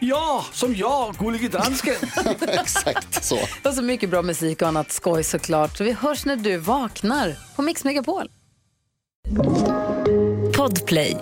Ja, som jag, Gullige Dansken. Exakt så. Och så mycket bra musik och annat skoj såklart. Så vi hörs när du vaknar på Mix Megapol. Podplay.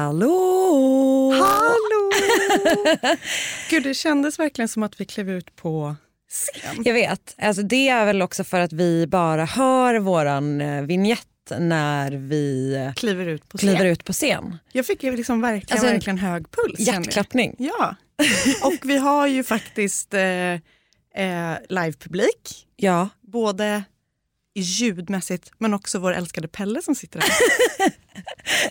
Hallå! Hallå! Gud, det kändes verkligen som att vi klev ut på scen. Jag vet. Alltså det är väl också för att vi bara hör våran eh, vignett när vi Kliver ut på kliver ut på scen. Jag fick ju liksom verkligen, Alltså, en verkligen hög puls. känner jag. Hjärtklappning. Ja, och vi har ju faktiskt eh, eh, livepublik, Ja. både ljudmässigt men också vår älskade Pelle som sitter här.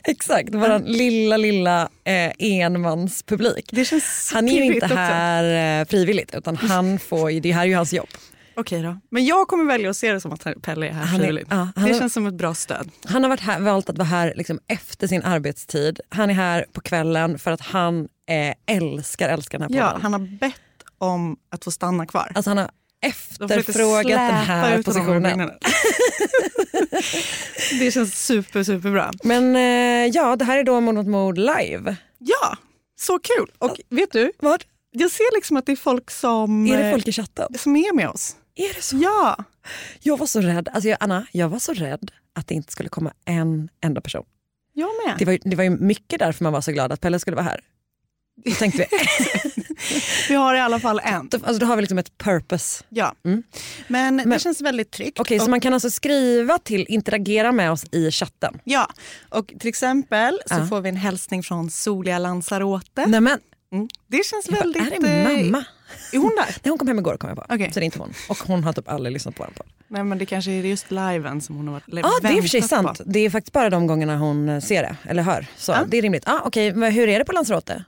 Exakt, våran lilla, lilla eh, enmanspublik. Det känns så Han är ju pirrigt inte också. här eh, frivilligt utan han får ju, det här är ju hans jobb. Okej då, men jag kommer välja att se det som att Pelle är här Han är- frivilligt. ja, han det är- känns som ett bra stöd. Han har varit här, valt att vara här liksom efter sin arbetstid. Han är här på kvällen för att han eh, älskar, älskar den här Ja, podden. han har bett om att få stanna kvar. Alltså han har De försökte efterfrågat den släpa här ut honom ur positionen. byggnaden. det känns super, superbra. Men eh, ja, det här är då Mord mot mord live. Ja, så kul. Och vet du, Vad? jag ser liksom att det är folk som, Är det folk i chatten? eh, som är med oss. Är det så? Ja, Jag var så rädd, alltså jag, Anna, jag var så rädd att det inte skulle komma en enda person. jag Det med. var, ju- det var ju mycket därför man var så glad att Pelle skulle vara här. Då tänkte vi, Vi har i alla fall en. då, alltså, då har vi liksom ett purpose. Ja. Mm. Men, det Men- känns väldigt tryggt. Okej, så och, man kan alltså skriva till, interagera med oss i chatten. ja. och till exempel så Ja. får vi en hälsning från soliga Lanzarote. Nej men, Mm. Det känns jag väldigt... bara, är det min eh, mamma? Är hon där? Nej, hon kom hem igår kom jag på. Okej. Så det är inte hon. Och hon har typ aldrig lyssnat på den på. Nej, men det kanske är just liven som hon har varit eller Ja, det är i och för sig väntat på. sant. Det är faktiskt bara de gångerna hon eh, ser det, eller hör. Så Ja. det är rimligt. Ah, Okej, men hur är det på Lanzarote?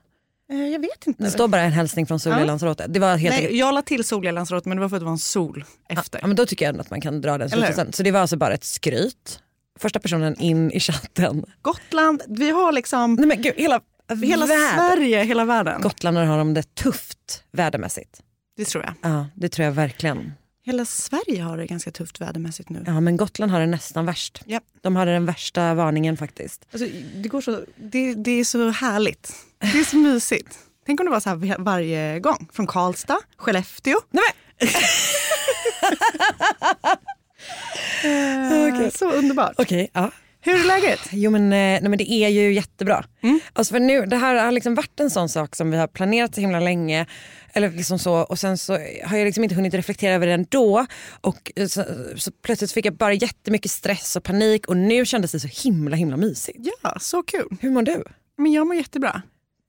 Eh, Jag vet inte. Det står bara en hälsning från Soliga Ja. Lanzarote. Det var helt enkelt. Nej, jag la till soliga Lanzarote men det var för att det var en sol efter. Ja, men då tycker jag ändå att man kan dra den Eller hur? slutsatsen. Så det var alltså bara ett skryt. Första personen in i chatten. Gotland, vi har liksom Nej men gud, hela, hela världen. Sverige, hela världen. Gotlandare har de det tufft vädermässigt. det tror jag. Ja, det tror jag verkligen. Hela Sverige har det ganska tufft vädermässigt nu. Ja, men Gotland har det nästan värst. Ja. De hade den värsta varningen faktiskt. Alltså, det, går så, det, det är så härligt. Det är så mysigt. Tänk om det var så här vi- varje gång. Från Karlstad, Skellefteå. Nej, Eh, Så underbart. Okej, ja. Hur är läget? Jo men, eh, nej, men det är ju jättebra. Alltså för nu, det här har liksom varit en sån sak som vi har planerat så himla länge. Eller liksom så, och sen så har jag liksom inte hunnit reflektera över den då. Och eh, så, så plötsligt fick jag bara jättemycket stress och panik och nu kändes det så himla himla mysigt. Ja, så kul. Hur mår du? Men jag mår jättebra.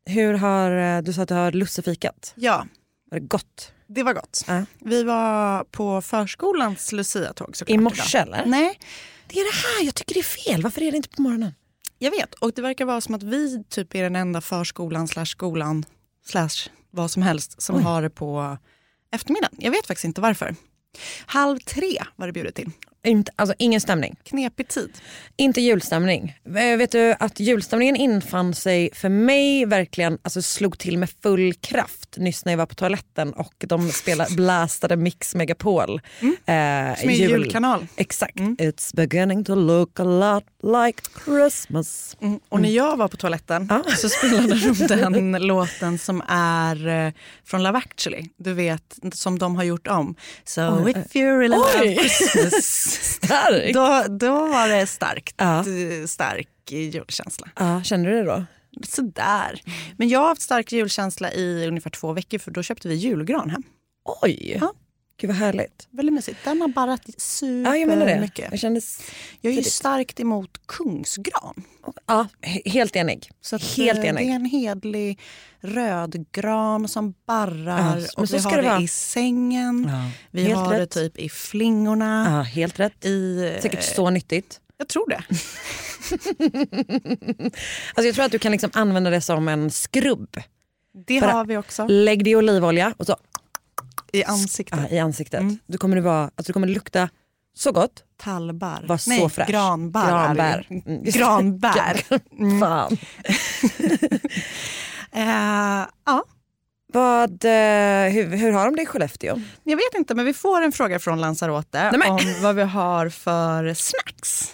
Hur har, eh, du sa att du har lussefikat. Ja, Var det gott? det var gott. Ja. Vi var på förskolans luciatåg såklart. I morse idag. Mm. eller? Nej, Det är det här, jag tycker det är fel. Varför är det inte på morgonen? Jag vet, och det verkar vara som att vi typ är den enda förskolan slash skolan slash vad som helst som har det på eftermiddagen. Jag vet faktiskt inte varför. Halv tre var det bjudet till. Inte, alltså ingen stämning. Knepig tid. Inte julstämning. Eh, Vet du att julstämningen infann sig för mig verkligen, alltså slog till med full kraft nyss när jag var på toaletten och de spelade, blastade Mix Megapol. Mm. Eh, Som är en Mm. julkanal. Exakt. It's beginning to look a lot like Christmas. Mm. Och när jag var på toaletten Ja. så spelade de den låten som är eh, från Love actually. Du vet, som de har gjort om. So if you really love eh. Oj. Christmas. Stark! då, då var det starkt. Ja. eh, Stark julkänsla. Ja, kände du det då? Sådär. Mm. Men jag har haft stark julkänsla i ungefär två veckor för då köpte vi julgran hem. Oj! Ja. Gud vad härligt. Väldigt mysigt. Den har barrat Ja, jag menar det. supermycket. Jag kändes Jag är ju Tidigt. starkt emot kungsgran. ja, he- helt enig. Så att, Helt eh, enig. Det är en hedlig röd gran som barrar Ja, men och så vi ska har det det, vara. i sängen. Ja. Vi Helt har rätt. det typ i flingorna. Ja, helt rätt. I, eh, Säkert så nyttigt. Jag tror det. Alltså jag tror att du kan liksom använda det som en skrubb. Det Bara- har vi också. Lägg det i olivolja och så I ansiktet. ah, i ansiktet. Då kommer du, vara, alltså du kommer lukta så gott. Talbar. Var så Nej, fräsch. granbar. Granbär. Granbär. Mm, just det. granbär. Fan. Eh, ja, Vad, eh, hur, hur har de det i Skellefteå? jag vet inte, men vi får en fråga från Lanzarote Nej, men- om vad vi har för snacks.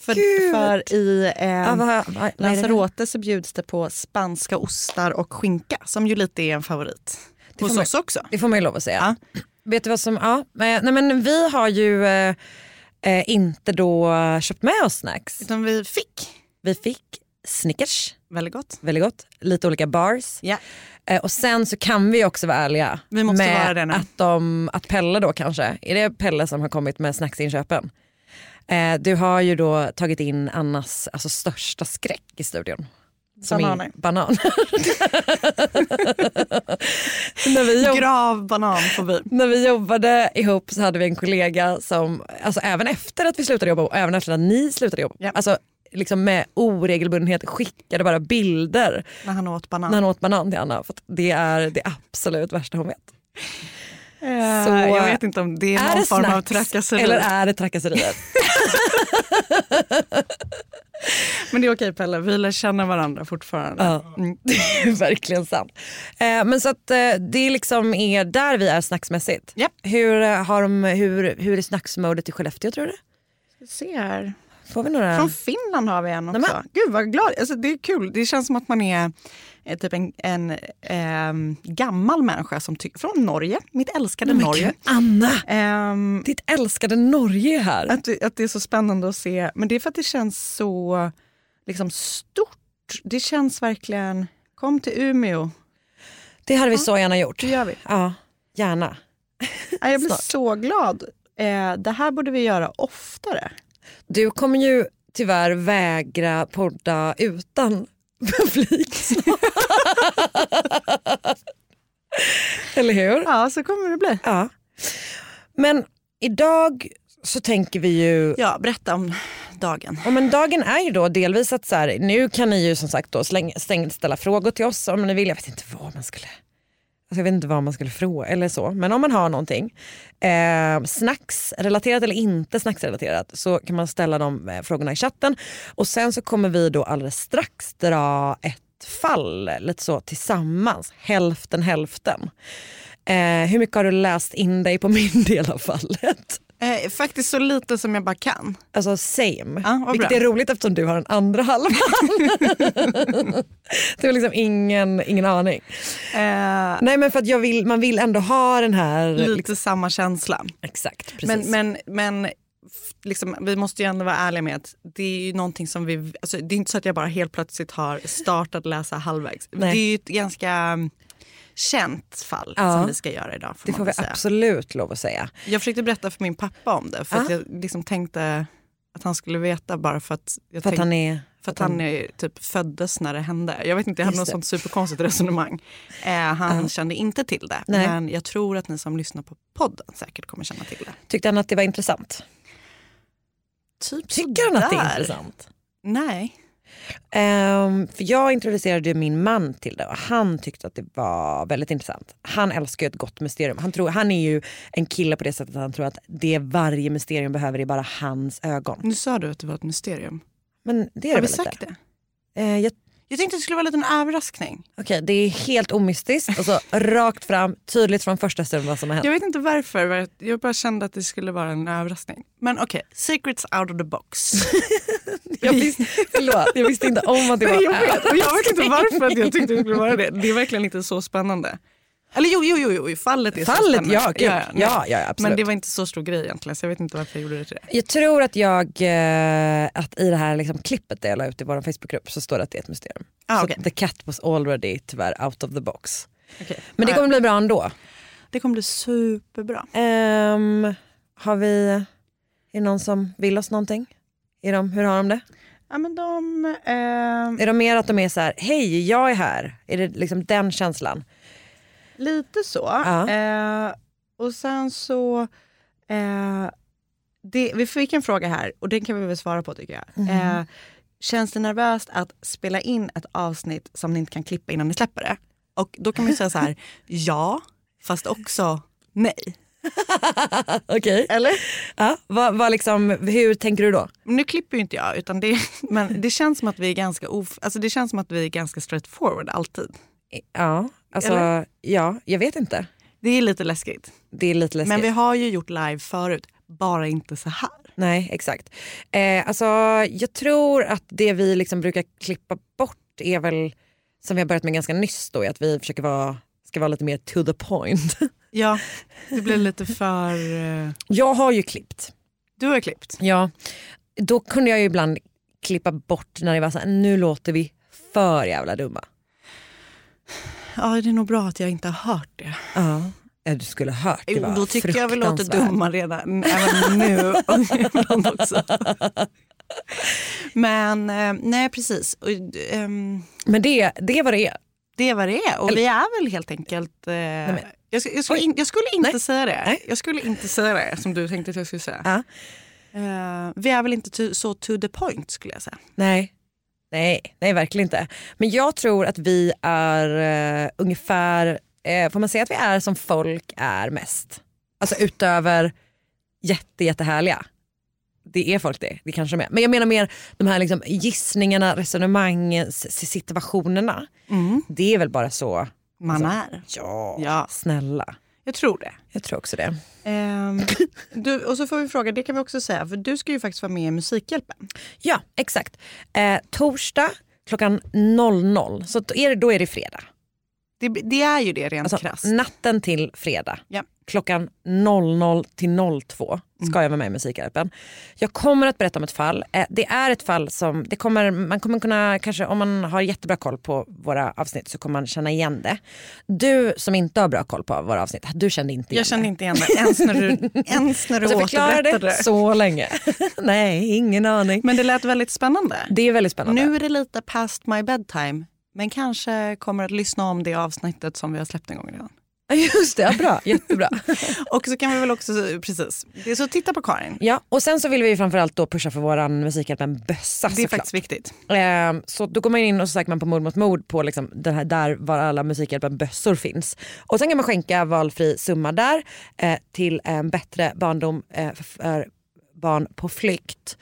för, gud. för i eh, Ah, vad, vad, vad är det nu? Lanzarote så bjuds det på spanska ostar och skinka som ju lite är en favorit. Det Hos får man- oss också. Det får man ju lov att säga. Vet du vad som, ja, men- nej men vi har ju eh, eh, inte då köpt med oss snacks. Utan vi fick. Vi fick Snickers, Väldigt gott. väldigt gott, lite olika bars. Ja. Eh, och sen så kan vi också vara ärliga Vi måste med vara det nu. att, de, att Pelle då kanske, är det Pelle som har kommit med snacksinköpen? Eh, du har ju då tagit in Annas alltså, största skräck i studion. Som är Bananer. Banan. När vi jobb- Grav bananfobi. när vi jobbade ihop så hade vi en kollega som, alltså även efter att vi slutade jobba och även efter att ni slutade jobba, Ja. alltså liksom med oregelbundenhet skickade bara bilder När han åt banan. när han åt banan till Anna för att det är det absolut värsta hon vet. Eh, Så- jag vet inte om det är, någon form av trakasseri. eller är det trakasserier? Men det är okej Pelle, vi lär känna varandra fortfarande. Mm. ja, det är verkligen sant. Eh, men så att eh, det liksom är där vi är snacksmässigt. Japp. Hur, eh, har de, hur, hur är snacksmodet i Skellefteå tror du? Se här. Får vi några? Från Finland har vi en också. Nej, Gud vad glad, alltså, det är kul. Det känns som att man är eh, typ en, en ehm, gammal människa som ty- från Norge, mitt älskade Men Norge. gud, Anna! Ehm, Ditt älskade Norge är här. att, det- att det är så spännande att se, men det är för att det känns så liksom, stort. Det känns verkligen, kom till Umeå, Det hade vi så gärna gjort. det gör vi. Ja, gärna. Nej, Jag blir Snart. så glad. Eh, det här borde vi göra oftare. Du kommer ju tyvärr vägra podda utan publik snart. Eller hur? Ja, så kommer det bli. Ja. Men idag så tänker vi ju Ja, berätta om dagen. Ja, men dagen är ju då delvis att så här, nu kan ni ju som sagt då släng, stäng, ställa frågor till oss om ni vill. Jag vet inte vad man skulle alltså jag vet inte vad man skulle fråga eller så. Men om man har någonting, eh, snacksrelaterat eller inte snacksrelaterat så kan man ställa de eh, frågorna i chatten. Och sen så kommer vi då alldeles strax dra ett fall lite så tillsammans, hälften hälften. Eh, hur mycket har du läst in dig på min del av fallet? Eh, faktiskt så lite som jag bara kan. Alltså same. Ja, vad vilket bra. är roligt eftersom du har en andra halvan. det var liksom ingen, ingen aning. Eh, Nej men för att jag vill, man vill ändå ha den här... lite samma känsla. Exakt, liksom- precis. Mm. Men, men, men f- liksom, vi måste ju ändå vara ärliga med att det är ju någonting som vi... Alltså, det är inte så att jag bara helt plötsligt har startat läsa halvvägs. Nej. Det är ju ett ganska mm, känt fall Ja. som vi ska göra idag. Får det man får vi väl säga. absolut lov att säga. Jag försökte berätta för min pappa om det för att Ja. jag liksom tänkte att han skulle veta bara för att, jag För att tänkte, han är... för att han är, typ föddes när det hände. Jag vet inte, jag hade Just något det. sånt superkonstigt resonemang. Eh, han kände inte till det, Nej. men jag tror att ni som lyssnar på podden säkert kommer känna till det. Tyckte han att det var intressant? Typ Tycker han att det är sådär. intressant? Nej. Ehm, för jag introducerade ju min man till det och han tyckte att det var väldigt intressant. Han älskar ju ett gott mysterium. Han, tror, han är ju en kille på det sättet att han tror att det varje mysterium behöver är bara hans ögon. Nu sa du att det var ett mysterium. Men det är Har det vi väl inte? sagt det? Eh, jag Jag tänkte det skulle vara en liten överraskning. Okej, det är helt omystiskt. Alltså, rakt fram, tydligt från första stund vad som har hänt. Jag vet inte varför, men jag bara kände att det skulle vara en överraskning. Men okej, secrets out of the box. Jag visste, förlåt, jag visste inte om att det Nej, var jag, vet, och jag vet inte varför att jag tyckte det skulle vara det. Det är verkligen inte så spännande. Eller jo, jo, jo, jo fallet är så Fallet, spännande. ja, gud. ja, nej. ja, ja, absolut. Men det var inte så stor grej egentligen så jag vet inte varför jag gjorde det till det. Jag tror att jag, eh, att i det här liksom klippet jag la ut i vår Facebookgrupp så står det att det är ett mysterium. Ah, så okej. the cat was already tyvärr out of the box. Okej. Men det Ah, kommer bli bra ändå. det kommer bli superbra. Ehm, har vi, är det någon som vill oss någonting? Är de, hur har de det? Ja, men de, eh, Är de mer att de är så här, hej jag är här? Är det liksom den känslan? lite så. Ja. Eh, och sen så... Eh, det, vi fick en fråga här och den kan vi väl svara på tycker jag. Mm. Eh, känns det nervöst att spela in ett avsnitt som ni inte kan klippa innan ni släpper det? Och då kan man ju säga så här, ja, fast också nej. Okej. Eller? Ja, vad, vad liksom, hur tänker du då? Nu klipper ju inte jag, utan det, men det känns som att vi är ganska of, alltså det känns som att vi är ganska straightforward alltid. Ja, alltså, Eller? ja, jag vet inte. Det är lite läskigt. Det är lite läskigt. Men vi har ju gjort live förut, bara inte så här. Nej, exakt. Eh, alltså, jag tror att det vi liksom brukar klippa bort är väl, som vi har börjat med ganska nyss, då, är att vi försöker vara, ska vara lite mer to the point. Ja, det blir lite för... eh, Jag har ju klippt. Du har klippt. Ja. Då kunde jag ju ibland klippa bort när det var så här, nu låter vi för jävla dumma. Ja, det är nog bra att jag inte har hört det. Ja. Eh, Du skulle ha hört det Jo, var då tycker jag vi låter fruktansvärt. dumma redan även nu och ibland också. Men eh, nej, precis. Och, ehm, Men det, det är vad det är. det är vad det är. Och vi är väl helt enkelt... Eh, men- jag, sk- jag, skulle in, jag skulle inte Nej. säga det. Nej. Jag skulle inte säga det som du tänkte att jag skulle säga. Ja. Eh, vi är väl inte to, så to the point skulle jag säga. Nej. Nej, nej verkligen inte. Men jag tror att vi är eh, ungefär, eh, får man säga att vi är som folk är mest? Alltså utöver jätte, jättehärliga. Det är folk det, det kanske de är. Men jag menar mer de här liksom gissningarna, resonemangen, s- situationerna. Det är väl bara Mm. så, Man är. ja, Ja. snälla. Jag tror det. Jag tror också det. Ehm, du, och så får vi fråga, det kan vi också säga, för du ska ju faktiskt vara med i Musikhjälpen. Ja, exakt. Eh, torsdag klockan 00, så då är det, då är det fredag. Det, det är ju det rent Alltså, krasst. natten till fredag Ja. Mm. klockan 00 till 02 ska jag vara med i Musikhjälpen. Jag kommer att berätta om ett fall. Eh, Det är ett fall som, det kommer, man kommer kunna, kanske om man har jättebra koll på våra avsnitt så kommer man känna igen det. Du som inte har bra koll på våra avsnitt, du kände inte igen Jag kände det. inte igen det ens när du, ens när du Alltså, jag förklarade återberättade. det så länge. Nej, ingen aning. Men det lät väldigt spännande. Det är väldigt spännande. Nu är det lite past my bedtime, men kanske kommer att lyssna om det avsnittet som vi har släppt en gång redan. Ja, Just det, ja, bra, jättebra. Och så kan vi väl också, precis, det är så titta på Karin. ja, och sen så vill vi ju framförallt då pusha för våran Musikhjälpen-bössa Det är såklart. faktiskt viktigt. Ehm, så då går man in och så söker man på mord mot mord på liksom den här, där var alla Musikhjälpen-bössor finns. Och sen kan man skänka valfri summa där eh, till en bättre barndom eh, för, för barn på flykt.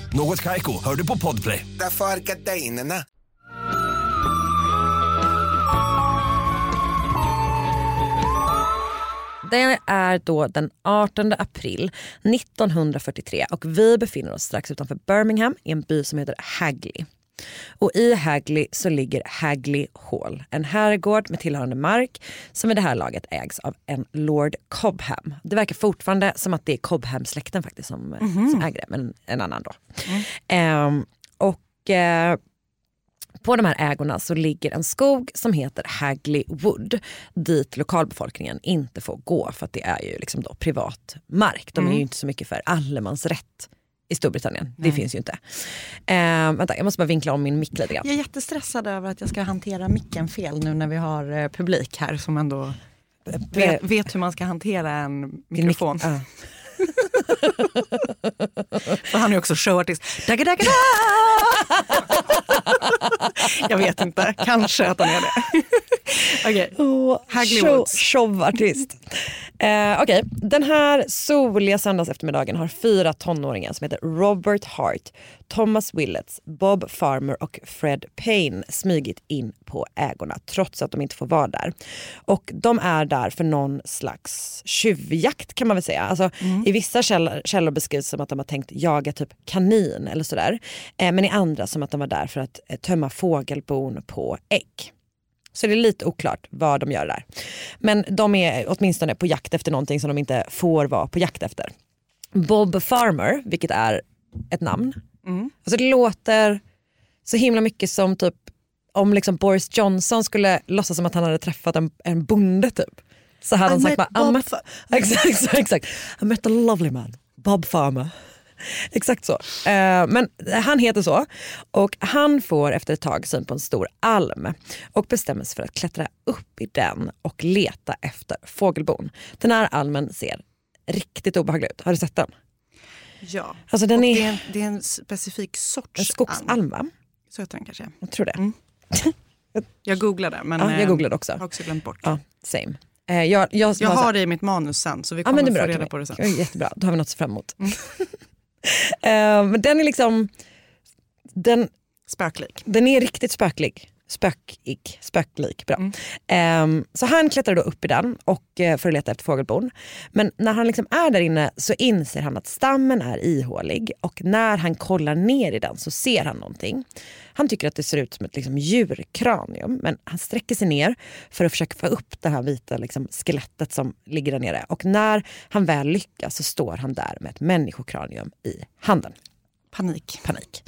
Något Kaiko, hör du på Podplay. Därför är gardinerna. Det är då den 18 april 1943 och vi befinner oss strax utanför Birmingham i en by som heter Hagley. Och i Hagley så ligger Hagley Hall, en herrgård med tillhörande mark som i det här laget ägs av en Lord Cobham. Det verkar fortfarande som att det är Cobham-släkten faktiskt som, som äger det, men en annan då. Ehm, och eh, på de här ägorna så ligger en skog som heter Hagley Wood dit lokalbefolkningen inte får gå för att det är ju liksom då privat mark. De är ju inte så mycket för allemansrätt i Storbritannien. Det finns ju inte. Eh, vänta, jag måste bara vinkla om min mick lite grann. Jag är jättestressad över att jag ska hantera micken fel nu när vi har eh, publik här som ändå vet, vet hur man ska hantera en Din mick- mikrofon. ja. För han är också showartist. Dagga, dagga, da! jag vet inte, kanske att han är det. Okej, Hagley Oh, Show- Woods. Showartist. Eh, Okej, den här soliga söndagseftermiddagen har fyra tonåringar som heter Robert Hart, Thomas Willets, Bob Farmer och Fred Payne smugit in på ägorna trots att de inte får vara där. Och de är där för någon slags tjuvjakt kan man väl säga. Alltså, Mm. I vissa källor, källor beskrivs som att de har tänkt jaga typ kanin eller sådär. Eh, men i andra som att de var där för att eh, tömma fågelbon på ägg. Så det är lite oklart vad de gör där. Men de är åtminstone på jakt efter någonting som de inte får vara på jakt efter. Bob Farmer, vilket är ett namn. Mm. Alltså det låter så himla mycket som typ om liksom Boris Johnson skulle låtsas som att han hade träffat en, en bonde typ. Så hade I han sagt met bara, Bob I met, exakt, exakt, exakt. I met a lovely man, Bob Farmer. Exakt så. Eh, men han heter så och han får efter ett tag syn på en stor alm och bestämmer sig för att klättra upp i den och leta efter fågelbon. Den här almen ser riktigt obehaglig ut. Har du sett den? Ja. Alltså den Och är- det, är en, det är en specifik sorts En skogsalm va? Så heter den kanske. Jag tror det. Jag googlade. Men, Ja, jag eh, googlade också. Har också glömt bort. Ja, same. Eh, jag jag, Jag var så- har det i mitt manus sen så vi Ja, kommer men det är bra, få reda Kimi. på det alltså. Mm. sen. Ja, Jättebra, då har vi något att se fram emot. Eh, men den är liksom, den, Spöklik. den är riktigt spöklig. Spökig, spöklik, bra. Eh, så han klättrar då upp i den och, eh, för att leta efter fågelbon. Men när han liksom är där inne så inser han att stammen är ihålig och när han kollar ner i den så ser han någonting. Han tycker att det ser ut som ett liksom, djurkranium men han sträcker sig ner för att försöka få upp det här vita liksom, skelettet som ligger där nere. Och när han väl lyckas så står han där med ett människokranium i handen Panik. panik.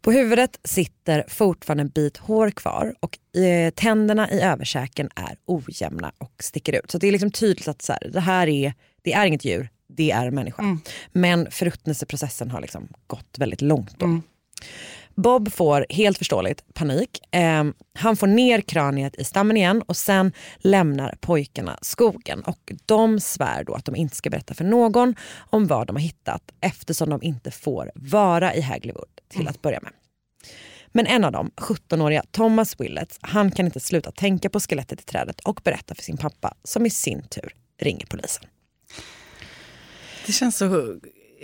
På huvudet sitter fortfarande en bit hår kvar och eh, tänderna i översäken är ojämna och sticker ut. Så det är liksom tydligt att så här, det här är, det är inget djur, det är en människa. Men förruttnelseprocessen har liksom gått väldigt långt då. Bob får helt förståeligt panik. Eh, han får ner kraniet i stammen igen och sen lämnar pojkarna skogen. Och de svär då att de inte ska berätta för någon om vad de har hittat eftersom de inte får vara i Hagleywood till att börja med. Men en av dem, 17-åriga Thomas Willets, han kan inte sluta tänka på skelettet i trädet och berätta för sin pappa som i sin tur ringer polisen. Det känns så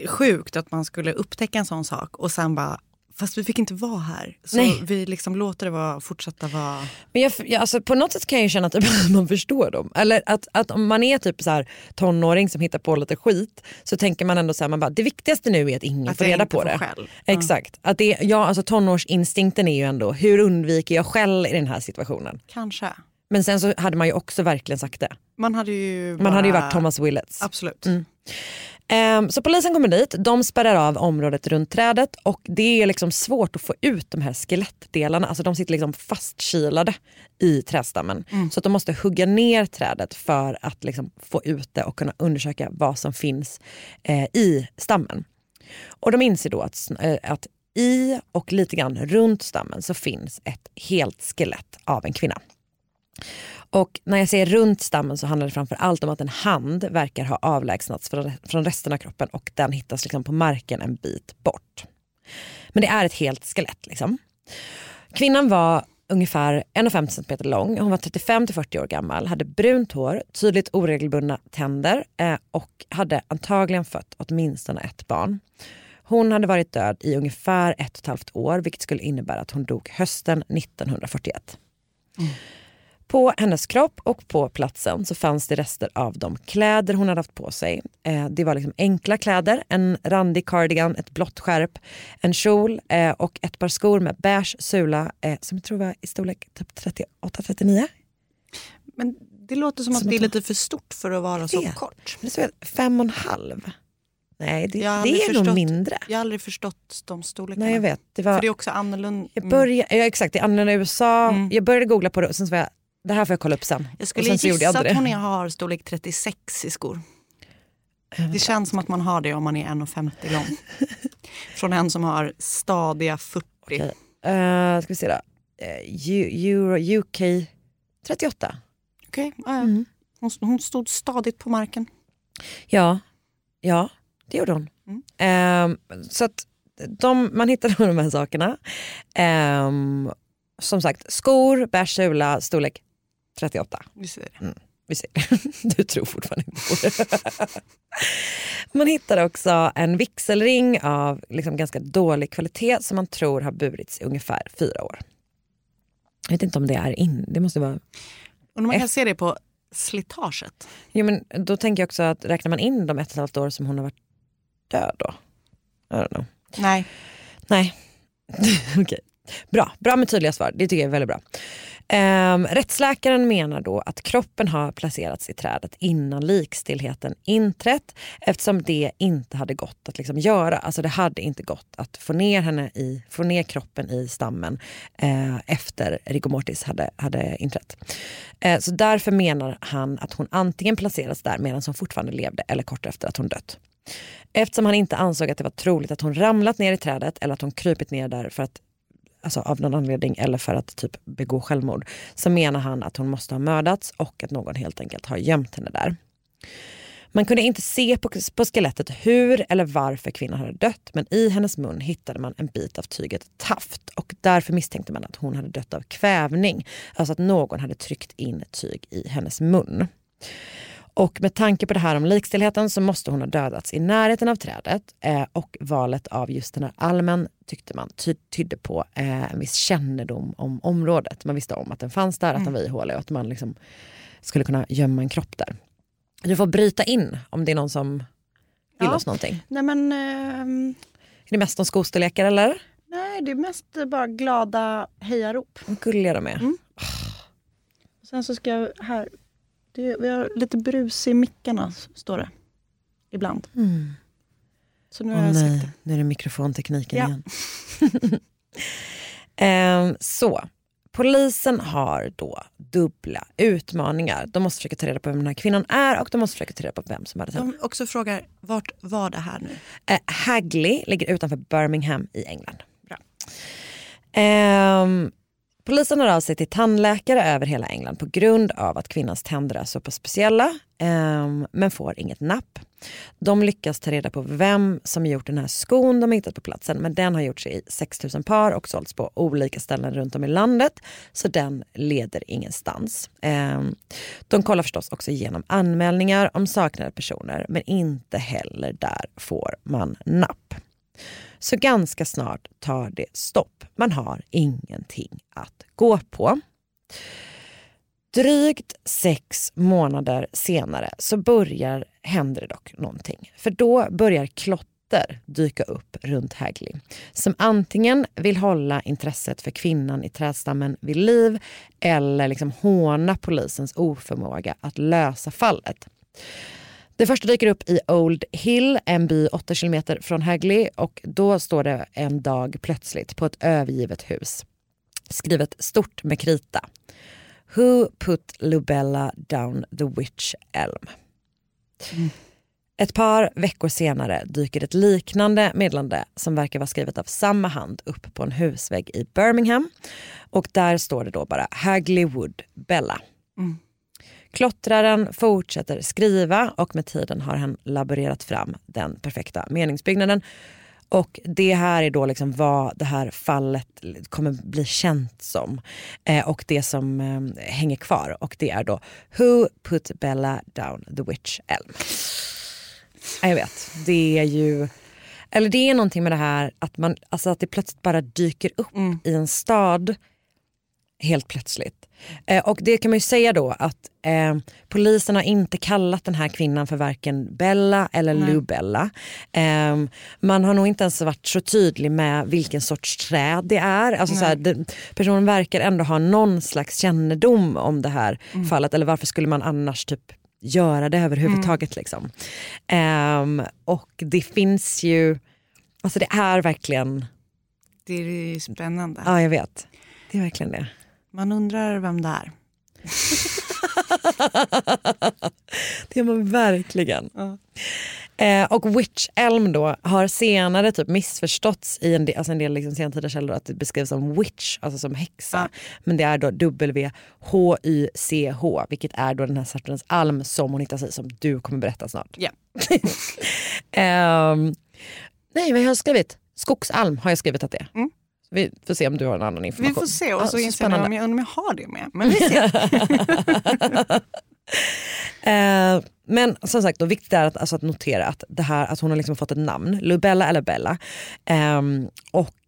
sjukt att man skulle upptäcka en sån sak och sen bara, fast vi fick inte vara här. Så Nej. vi liksom låter det vara, fortsätta vara... Men jag, jag, alltså, på något sätt kan jag ju känna typ att man förstår dem. Eller att, att om man är typ så här tonåring som hittar på lite skit så tänker man ändå så här, man bara, det viktigaste nu är att ingen Att får jag reda inte på får det. skäll. Exakt. Att det, ja, alltså, tonårsinstinkten är ju ändå, hur undviker jag skäll i den här situationen? Kanske. Men sen så hade man ju också verkligen sagt det. Man hade ju Man hade ju varit Mm. Thomas Willets. Absolut. Ehm, så polisen kommer dit, de spärrar av området runt trädet och det är liksom svårt att få ut de här skelettdelarna. Alltså de sitter liksom fastkilade i trädstammen. Så att de måste hugga ner trädet för att liksom få ut det och kunna undersöka vad som finns eh, i stammen. Och de inser då att, sn- eh, att i och lite grann runt stammen så finns ett helt skelett av en kvinna. Och när jag säger runt stammen så handlar det framför allt om att en hand verkar ha avlägsnats från- från resten av kroppen och den hittas liksom på marken en bit bort. Men det är ett helt skelett. Liksom. Kvinnan var ungefär 1,50 cm lång, hon var 35-40 år gammal, hade brunt hår, tydligt oregelbundna tänder eh, och hade antagligen fött åtminstone ett barn. Hon hade varit död i ungefär ett och ett halvt år vilket skulle innebära att hon dog hösten 1941. På hennes kropp och på platsen så fanns det rester av de kläder hon hade haft på sig. Eh, det var liksom enkla kläder, en randig cardigan, ett blått skärp, en kjol eh, och ett par skor med beige sula eh, som jag tror var i storlek typ 38-39. Men det låter som, Som att det är att- lite för stort för att vara så vet. kort. Men det stod fem och en halv. Nej, det, det Jag har aldrig är nog förstått- mindre. Jag har aldrig förstått de storlekarna. Nej, jag vet. Det För var, det Mm. är också annorlunda. jag började, ja, exakt, det är annorlunda i USA. Jag började googla på det och sen så var jag, det här får jag kolla upp sen. Jag och skulle sen så gjorde gissa jag aldrig att det. hon är- har storlek 36 i skor. Det känns som att man har det om man är 1,50 lång. Från en som har stadiga 40. Eh, ska vi se då. Eh, U- Euro, UK 38. Okej, ja, ja. hon, hon stod stadigt på marken. Ja, ja det gjorde hon. Ehm, så att de, man hittade de här sakerna. Ehm, som sagt, skor, bärs, sula, storlek 38. Vi ser det. Vi ser. Du tror fortfarande inte på det. Man hittar också en vigselring av liksom ganska dålig kvalitet som man tror har burits i ungefär fyra år. Jag vet inte om det är in, det måste vara Och man kan se det på slitaget. Jo, men då tänker jag också att räknar man in de ett och ett halvt år som hon har varit död då? I don't know. Nej. Nej, okej. Bra. Bra med tydliga svar. Det tycker jag är väldigt bra. Ehm, rättsläkaren menar då att kroppen har placerats i trädet innan likstillheten inträtt eftersom det inte hade gått att liksom göra. Alltså det hade inte gått att få ner, henne i, få ner kroppen i stammen eh, efter rigor mortis hade, hade inträtt. Eh, så därför menar han att hon antingen placerats där medan hon fortfarande levde eller kort efter att hon dött. Eftersom han inte ansåg att det var troligt att hon ramlat ner i trädet eller att hon krypit ner där för att alltså av någon anledning eller för att typ begå självmord så menar han att hon måste ha mördats och att någon helt enkelt har gömt henne där. Man kunde inte se på, på skelettet hur eller varför kvinnan hade dött men i hennes mun hittade man en bit av tyget taft och därför misstänkte man att hon hade dött av kvävning, alltså att någon hade tryckt in tyg i hennes mun. Och med tanke på det här om likstillheten så måste hon ha dödats i närheten av trädet eh, och valet av just den här almen tyckte man ty- tydde på eh, en viss kännedom om området. Man visste om att den fanns där, att den var ihålig och att man liksom skulle kunna gömma en kropp där. Du får bryta in om det är någon som vill Ja. oss någonting. Nej men, ehm, Är det mest om skostorlekar eller? nej det är mest bara glada hejarop. Vad gulliga de är. Sen så ska jag här, det, vi har lite brus i mickarna s- står det. Ibland. Mm. Så nu Åh har jag släckt nej, nu är det mikrofontekniken Ja. igen. Ehm, så, polisen har då dubbla utmaningar. De måste försöka ta reda på vem den här kvinnan är och de måste försöka ta reda på vem som hade henne. De också frågar, vart var det här nu? Eh, Hagley ligger utanför Birmingham i England. Bra. Ehm, polisen har av sig till tandläkare över hela England på grund av att kvinnans tänder är så pass speciella ehm, men får inget napp. De lyckas ta reda på vem som gjort den här skon de har hittat på platsen men den har gjorts i 6000 par och sålts på olika ställen runt om i landet så den leder ingenstans. Ehm, de kollar förstås också igenom anmälningar om saknade personer men inte heller där får man napp. Så ganska snart tar det stopp. Man har ingenting att gå på. Drygt sex månader senare så börjar, händer det dock någonting. För då börjar klotter dyka upp runt Hagley som antingen vill hålla intresset för kvinnan i trädstammen vid liv eller liksom håna polisens oförmåga att lösa fallet. Det första dyker upp i Old Hill, en by 8 kilometer från Hagley och då står det en dag plötsligt på ett övergivet hus skrivet stort med krita. Who put Lubella down the witch elm? Ett par veckor senare dyker ett liknande meddelande som verkar vara skrivet av samma hand upp på en husvägg i Birmingham och där står det då bara Hagley Wood Bella. Klottraren fortsätter skriva och med tiden har han laborerat fram den perfekta meningsbyggnaden. Och det här är då liksom vad det här fallet kommer bli känt som. Eh, och det som eh, hänger kvar och det är då Who put Bella down the witch elm? Ja, Jag vet, det är ju... Eller det är någonting med det här att, man, alltså att det plötsligt bara dyker upp i en stad helt plötsligt. Eh, och det kan man ju säga då att eh, polisen har inte kallat den här kvinnan för varken Bella eller Lubella. Eh, man har nog inte ens varit så tydlig med vilken sorts träd det är. Alltså så här, den, personen verkar ändå ha någon slags kännedom om det här fallet eller varför skulle man annars typ göra det överhuvudtaget. Liksom. Eh, och det finns ju, alltså det är verkligen, Det är ju spännande. ja jag vet, det är verkligen det. Man undrar vem det är. Det gör man verkligen. Eh, och Witch Elm då har senare typ missförståtts i en del, alltså en del liksom sentida källor att det beskrivs som witch, alltså som häxa. Men det är då W-H-Y-C-H, vilket är då den här sortens alm som hon hittar sig som du kommer berätta snart. Ja. Ehm, nej, vad har jag skrivit? Skogsalm har jag skrivit att det är. Mm. Vi får se om du har en annan Vi information. får se och Ja, så inser spännande. jag om jag, om jag har det med. Men vi ser. Eh, Men som sagt, då, viktigt är att, alltså, att notera att, det här, att hon har liksom fått ett namn, Lubella eller Bella. Ehm, och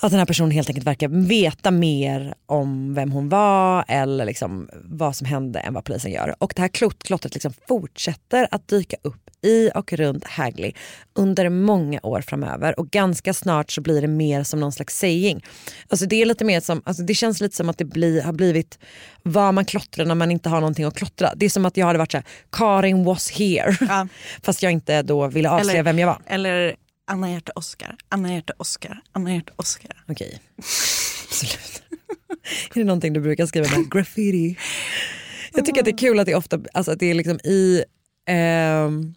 att den här personen helt enkelt verkar veta mer om vem hon var eller liksom vad som hände än vad polisen gör. Och det här klot- klottret liksom fortsätter att dyka upp i och runt Hagley under många år framöver och ganska snart så blir det mer som någon slags saying. Alltså det, är lite mer som, alltså det känns lite som att det blir, har blivit vad man klottrar när man inte har någonting att klottra. Det är som att jag hade varit såhär, Karin was here. Fast jag inte då ville avslöja Eller- vem jag var. Eller Anna Hjärta Oskar, Anna Hjärta Oskar, Anna Hjärta Oskar. Okej. Absolut. är det någonting du brukar skriva med? Graffiti. Jag tycker att det är kul att det ofta, alltså att det är liksom i, ehm,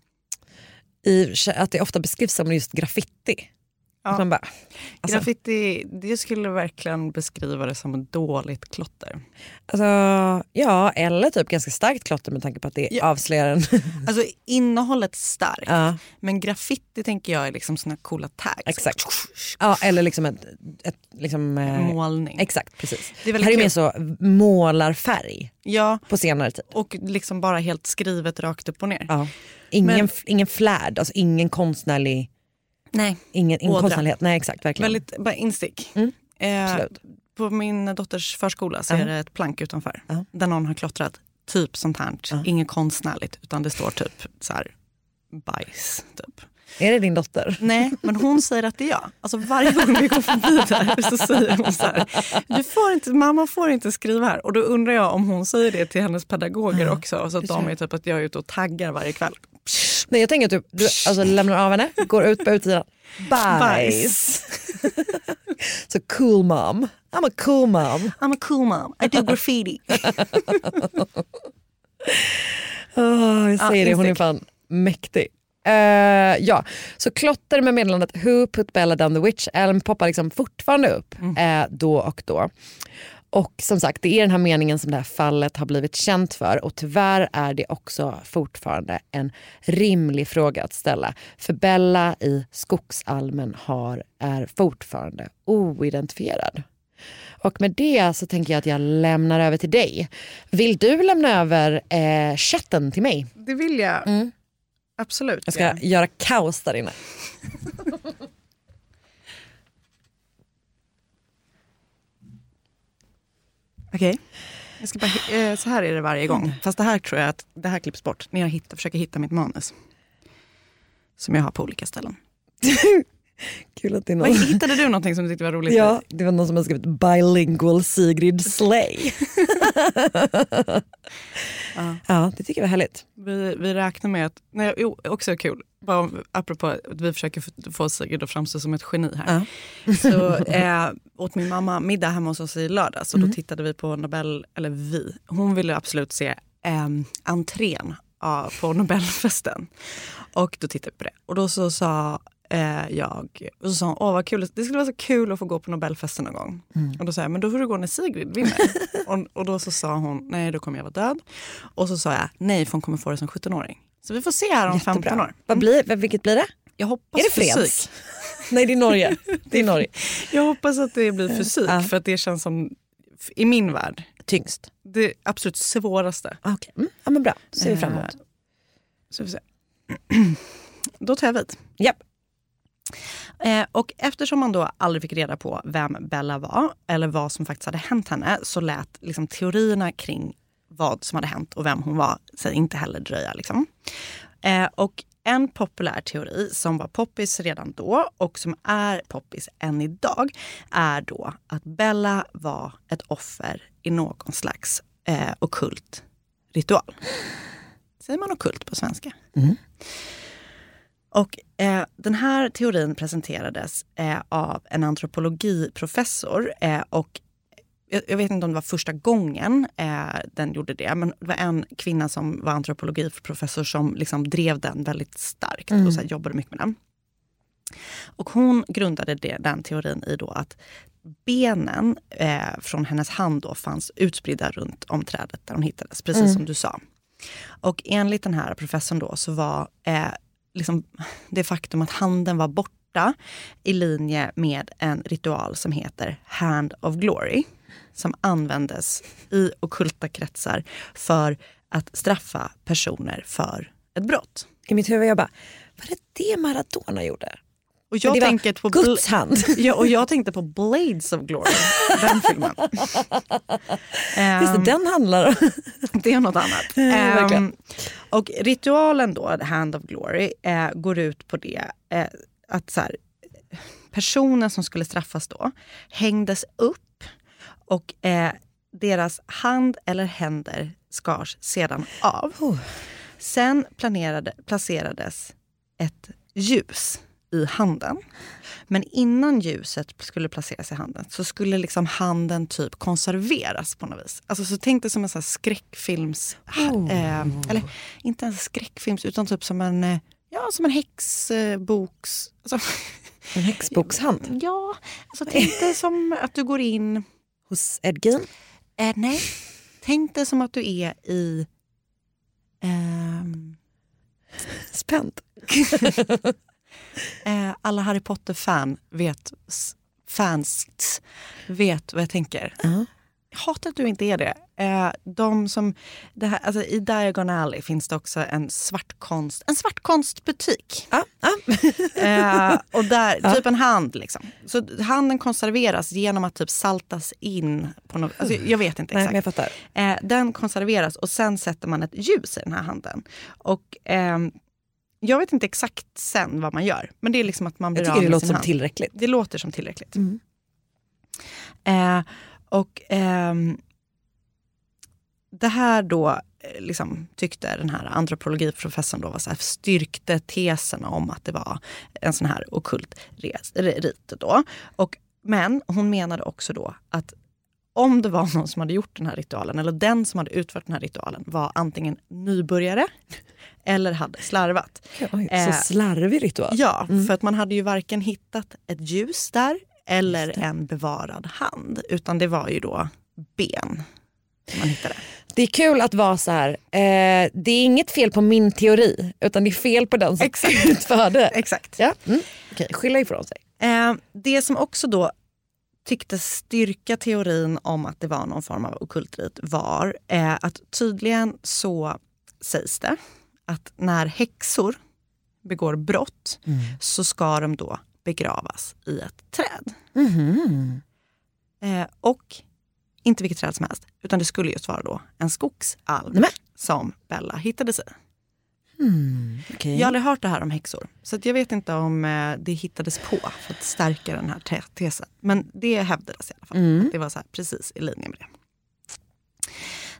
i, att det ofta beskrivs som just graffiti. Att man bara, alltså- Graffiti, det skulle verkligen beskriva det som ett dåligt klotter. alltså, ja, eller typ ganska starkt klotter med tanke på att det Ja. avslöjar en. Alltså innehållet starkt, Ja. men graffiti tänker jag är liksom såna coola tags. Exakt. Ja, eller liksom ett, ett liksom, eh, Målning. Exakt, precis. Det är väldigt här är mer kul. så målarfärg Ja, på senare tid. och liksom bara helt skrivet rakt upp och ner. Ja. Ingen, Men- ingen flärd, alltså ingen konstnärlig Nej, Ingen, ingen Ådra. konstnärlighet, nej exakt verkligen. väldigt bara instick. Mm, Eh, Absolut. på min dotters förskola så Ja. är det ett plank utanför Ja. där någon har klottrat typ sånt här, Ja. inget konstnärligt utan det står typ så här bajs. Typ. Är det din dotter? Nej, men hon säger att det är jag. Alltså varje gång vi går förbi där så säger hon så här, du får inte, mamma får inte skriva här. Och då undrar jag om hon säger det till hennes pedagoger också, så att de är typ att jag är ute och taggar varje kväll. Nej jag tänker typ, du alltså, lämnar av henne, går ut på utsidan, bajs. Så cool mom, I'm a cool mom. I'm a cool mom, I do graffiti. Åh, Ah, jag säger det, hon är instick. fan mäktig. Eh, ja, så klotter med meddelandet Who put Bella down the witch elm poppar liksom fortfarande upp eh, då och då. Och som sagt, det är den här meningen som det här fallet har blivit känt för och tyvärr är det också fortfarande en rimlig fråga att ställa. För Bella i skogsalmen har, är fortfarande oidentifierad. Och med det så tänker jag att jag lämnar över till dig. Vill du lämna över eh, chatten till mig? Det vill jag. Mm. Absolut. Jag ska göra kaos där inne. Okej. Jag ska bara, eh, så här är det varje gång. Fast det här tror jag att det här klipps bort när jag hittar, försöker hitta mitt manus. Som jag har på olika ställen. Kul att det är Vad- Hittade du någonting som du tyckte var roligt? Ja, det var någon som hade skrivit bilingual Sigrid Slay. Ja. ja, det tycker jag var härligt. Vi, vi räknar med att, nej, jo, också kul, bara om- apropå att vi försöker f- få Sigrid att framstå som ett geni här. Så eh, åt min mamma middag hemma hos oss i lördags och då tittade vi på Nobel, eller vi, hon ville absolut se eh, entrén ja, på Nobelfesten. Och då tittade vi på det och då så sa eh, jag, och så sa hon, åh vad kul, det skulle vara så kul att få gå på Nobelfesten någon gång. Och då sa jag, men då får du gå när Sigrid vinner. och, och då så sa hon, nej då kommer jag vara död. Och så sa jag nej, för hon kommer få det som 17-åring. Så vi får se här om 15 år. Vad blir, vad- vilket blir det? Jag hoppas är det fysik. freds? Nej, det är Norge. Det är Norge. Jag hoppas att det blir fysik, Ja. för att det känns som, i min värld, Tyngst. det absolut svåraste. Ah, Okej, mm. ja, men bra. Då ser vi fram emot. Eh, Så vi får se. Då tar jag vid. Japp. Eh, och eftersom man då aldrig fick reda på vem Bella var eller vad som faktiskt hade hänt henne så lät liksom, teorierna kring vad som hade hänt och vem hon var sig inte heller dröja. Liksom. Eh, och en populär teori som var poppis redan då och som är poppis än idag är då att Bella var ett offer i någon slags eh, okult ritual. Säger man okult på svenska? Och eh, den här teorin presenterades eh, av en antropologiprofessor eh, och jag, jag vet inte om det var första gången eh, den gjorde det, men det var en kvinna som var antropologiprofessor som liksom drev den väldigt starkt och så här, jobbade mycket med den. Och hon grundade det, den teorin i då att benen eh, från hennes hand då fanns utspridda runt om trädet där hon hittades, precis som du sa. Och enligt den här professorn då så var eh, liksom det faktum att handen var borta i linje med en ritual som heter Hand of Glory som användes i ockulta kretsar för att straffa personer för ett brott. I mitt huvud jag bara, var det det Maradona gjorde? Och Men jag det var tänker på Guds hand. Ja, och jag tänkte på Blades of Glory, den filmen. Just det, Ehm, den handlar om. det är något annat. verkligen. Ehm, och ritualen då, The Hand of Glory, eh, går ut på det eh, att så här, personen som skulle straffas då hängdes upp och eh, deras hand eller händer skars sedan av. Sen planerade, placerades ett ljus i handen. Men innan ljuset skulle placeras i handen så skulle liksom handen typ konserveras på något vis. Alltså så tänk dig som en sån här skräckfilms... Eh, eller inte en skräckfilms utan typ som en, eh, ja, som en häxboks... Alltså, En häxbokshand ja, alltså tänk dig som att du går in... hos Ed Gein. Eh, nej, tänk dig som att du är i... ehm, Spänd. Eh, alla Harry Potter-fan vet, s- fans t- vet vad jag tänker. Ja. Jag hatar att du inte är det. Eh, de som, det här, alltså, I Diagon Alley finns det också en svartkonst, en svartkonstbutik. Ja, ja. Eh, och där, Typ en hand. Liksom. Så handen konserveras genom att typ saltas in. På något, alltså, jag vet inte Nej, exakt. men jag fattar. Eh, den konserveras och sen sätter man ett ljus i den här handen. Och ehm, jag vet inte exakt sen vad man gör, men det är liksom att man blir Jag tycker av det med låter sin som hand. tillräckligt. Det låter som tillräckligt. Eh, och ehm, det här då, eh, liksom, tyckte den här antropologiprofessorn då var så här, styrkte tesen om att det var en sån här ockult res- re- rit. Då. Och, men hon menade också då att om det var någon som hade gjort den här ritualen, eller den som hade utfört den här ritualen, var antingen nybörjare eller hade slarvat. Oj, Eh, så slarvig ritual. Ja, Mm. för att man hade ju varken hittat ett ljus där eller en bevarad hand, utan det var ju då ben man hittade. Det är kul att vara så här. Eh, det är inget fel på min teori utan det är fel på den som utförde. Exakt. Ja. Mm. Okej, skylla ifrån sig. Eh, det som också då tycktes styrka teorin om att det var någon form av ockult rit var eh, att tydligen så sägs det att när häxor begår brott så ska de då begravas i ett träd. Mhm. Eh, och inte vilket träd som helst, utan det skulle just vara då en skogsalm Nämen. som Bella hittades i. Okej. Jag har aldrig hört det här om häxor, så att jag vet inte om eh, det hittades på för att stärka den här te- tesen. Men det hävdades i alla fall. Att det var så här, precis i linje med det.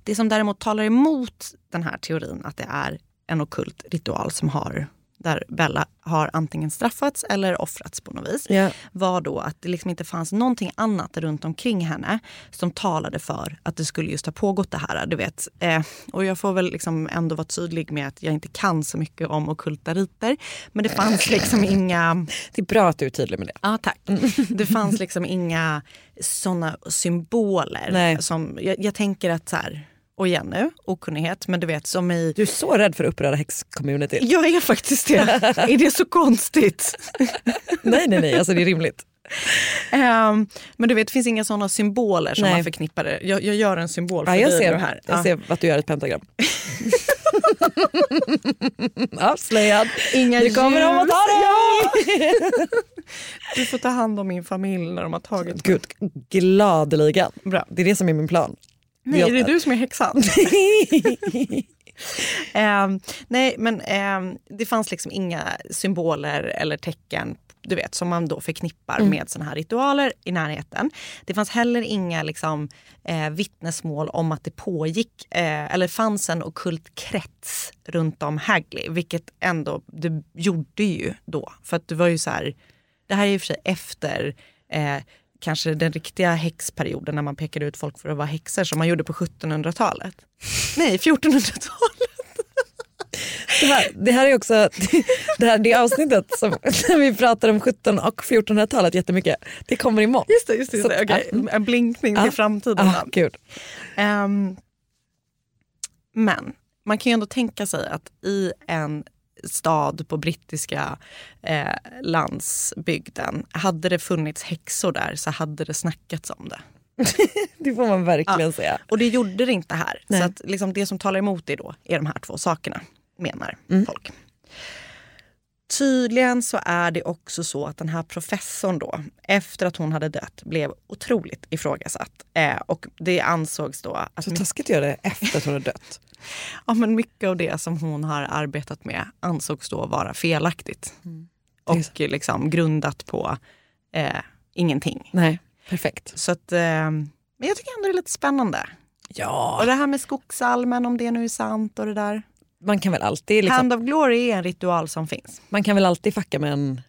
Det som däremot talar emot den här teorin att det är en ockult ritual som har där Bella har antingen straffats eller offrats på något vis Ja. var då att det liksom inte fanns någonting annat runt omkring henne som talade för att det skulle just ha pågått det här. Du vet. Eh, och jag får väl liksom ändå vara tydlig med att jag inte kan så mycket om ockulta riter. Men det fanns liksom inga... Det är bra att du är tydlig med det. Ja, tack. Det fanns liksom inga såna symboler. Nej. Som, jag, jag tänker att så här, och igen nu, okunnighet, men du vet som i Du är så rädd för att uppröra häxcommunityt. jag är faktiskt det. Är det så konstigt? nej nej nej, alltså det är rimligt. Ehm, men du vet, det finns inga sådana symboler som Nej. man förknippar det. Jag, jag gör en symbol för Ja, jag dig ser, då här. jag Ja. ser att du gör ett pentagram. Avslöjad. Inga Nu kommer de att ta dig! Du får ta hand om min familj när de har tagit Gud, gladeligen. Bra. Det är det som är min plan. Nej, Jag- är det du som är häxan? Ehm, nej, men ehm, det fanns liksom inga symboler eller tecken du vet, som man då förknippar med såna här ritualer i närheten. Det fanns heller inga liksom, eh, vittnesmål om att det pågick eh, eller fanns en ockult krets runt om Hagley, vilket ändå det gjorde ju då. För att det var ju så här, det här är i och för sig efter eh, kanske den riktiga häxperioden när man pekade ut folk för att vara häxor som man gjorde på 1700-talet. Nej, 1400-talet. Det här, det här är också det, här, det avsnittet som när vi pratar om 17 och 1400-talet jättemycket. Det kommer imorgon. Just det, just det. Just det. Så- Okej, ja. mm. En blinkning Ja. till framtiden. Ah, gud. Ehm, men man kan ju ändå tänka sig att i en stad på brittiska eh, landsbygden, hade det funnits häxor där så hade det snackats om det. det får man verkligen Ja. säga. Och det gjorde det inte här. Nej. Så att liksom det som talar emot det då är de här två sakerna, menar Mm. folk. Tydligen så är det också så att den här professorn då, efter att hon hade dött, blev otroligt ifrågasatt. Eh, och det ansågs då att... Så taskigt att göra det efter att hon har dött. Ja, men mycket av det som hon har arbetat med ansågs då vara felaktigt. Mm. Och liksom grundat på eh, ingenting. Nej, perfekt. Så att, eh, men jag tycker ändå det är lite spännande. Ja, Och det här med skogsalmen, om det nu är sant och det där. man kan väl alltid, liksom, Hand of glory är en ritual som finns. man kan väl alltid fucka med en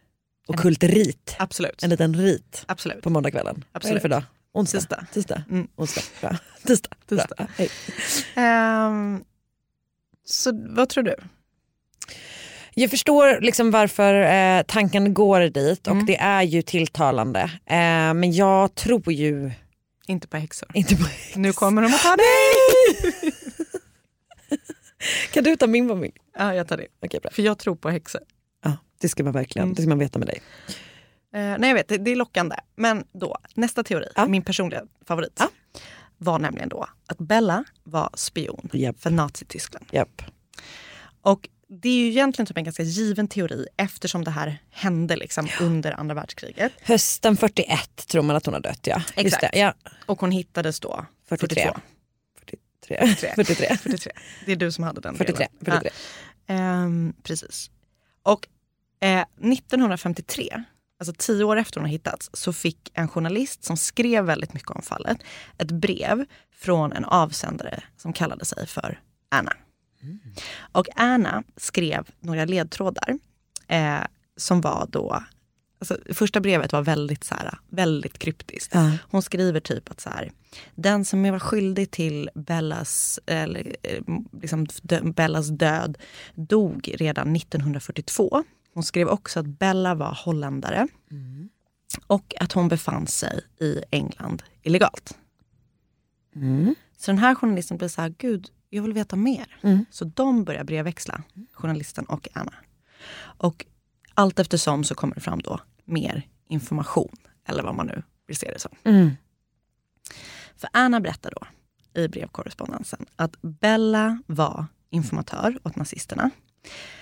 ockult rit. Absolut. En liten rit Absolut. på måndagskvällen. Vad är det Absolut. för dag? Onsdag? Tisdag. Tisdag? Mm. Onsdag? Bra. Tisdag? Bra. Tisdag. Ja, hej. Ehm, så vad tror du? Jag förstår liksom varför eh, tanken går dit och Mm. det är ju tilltalande. Eh, men jag tror ju Inte på häxor. inte på Nu kommer de att ta dig! Kan du ta min familj? Ja, jag tar det. Okej, bra. Mm. För jag tror på häxor. Ja, det ska man verkligen det ska man veta med dig. Eh, nej jag vet, det, det är lockande. Men då, nästa teori, Ja. min personliga favorit, Ja. var nämligen då att Bella var spion Japp. för Nazityskland. Japp. Och det är ju egentligen typ en ganska given teori eftersom det här hände liksom under andra världskriget. Hösten 41 tror man att hon har dött ja. Just det, Exakt. ja. Och hon hittades då 43. 42. 43. 43. 43. Det är du som hade den 43. delen. 43. Ja, ehm, precis. Och eh, 1953, alltså tio år efter hon har hittats, så fick en journalist som skrev väldigt mycket om fallet ett brev från en avsändare som kallade sig för Anna. Och Anna skrev några ledtrådar eh, som var då Alltså, det första brevet var väldigt, så här, väldigt kryptiskt. Ja. Hon skriver typ att så här, den som var skyldig till Bellas, eller, eh, liksom, dö, Bellas död dog redan 1942. Hon skrev också att Bella var holländare och att hon befann sig i England illegalt. Så den här journalisten blir så här, gud, jag vill veta mer. Så de börjar brevväxla, journalisten och Anna. Och allt eftersom så kommer det fram då mer information, eller vad man nu vill se det som. Mm. För Anna berättar då i brevkorrespondensen att Bella var informatör åt nazisterna.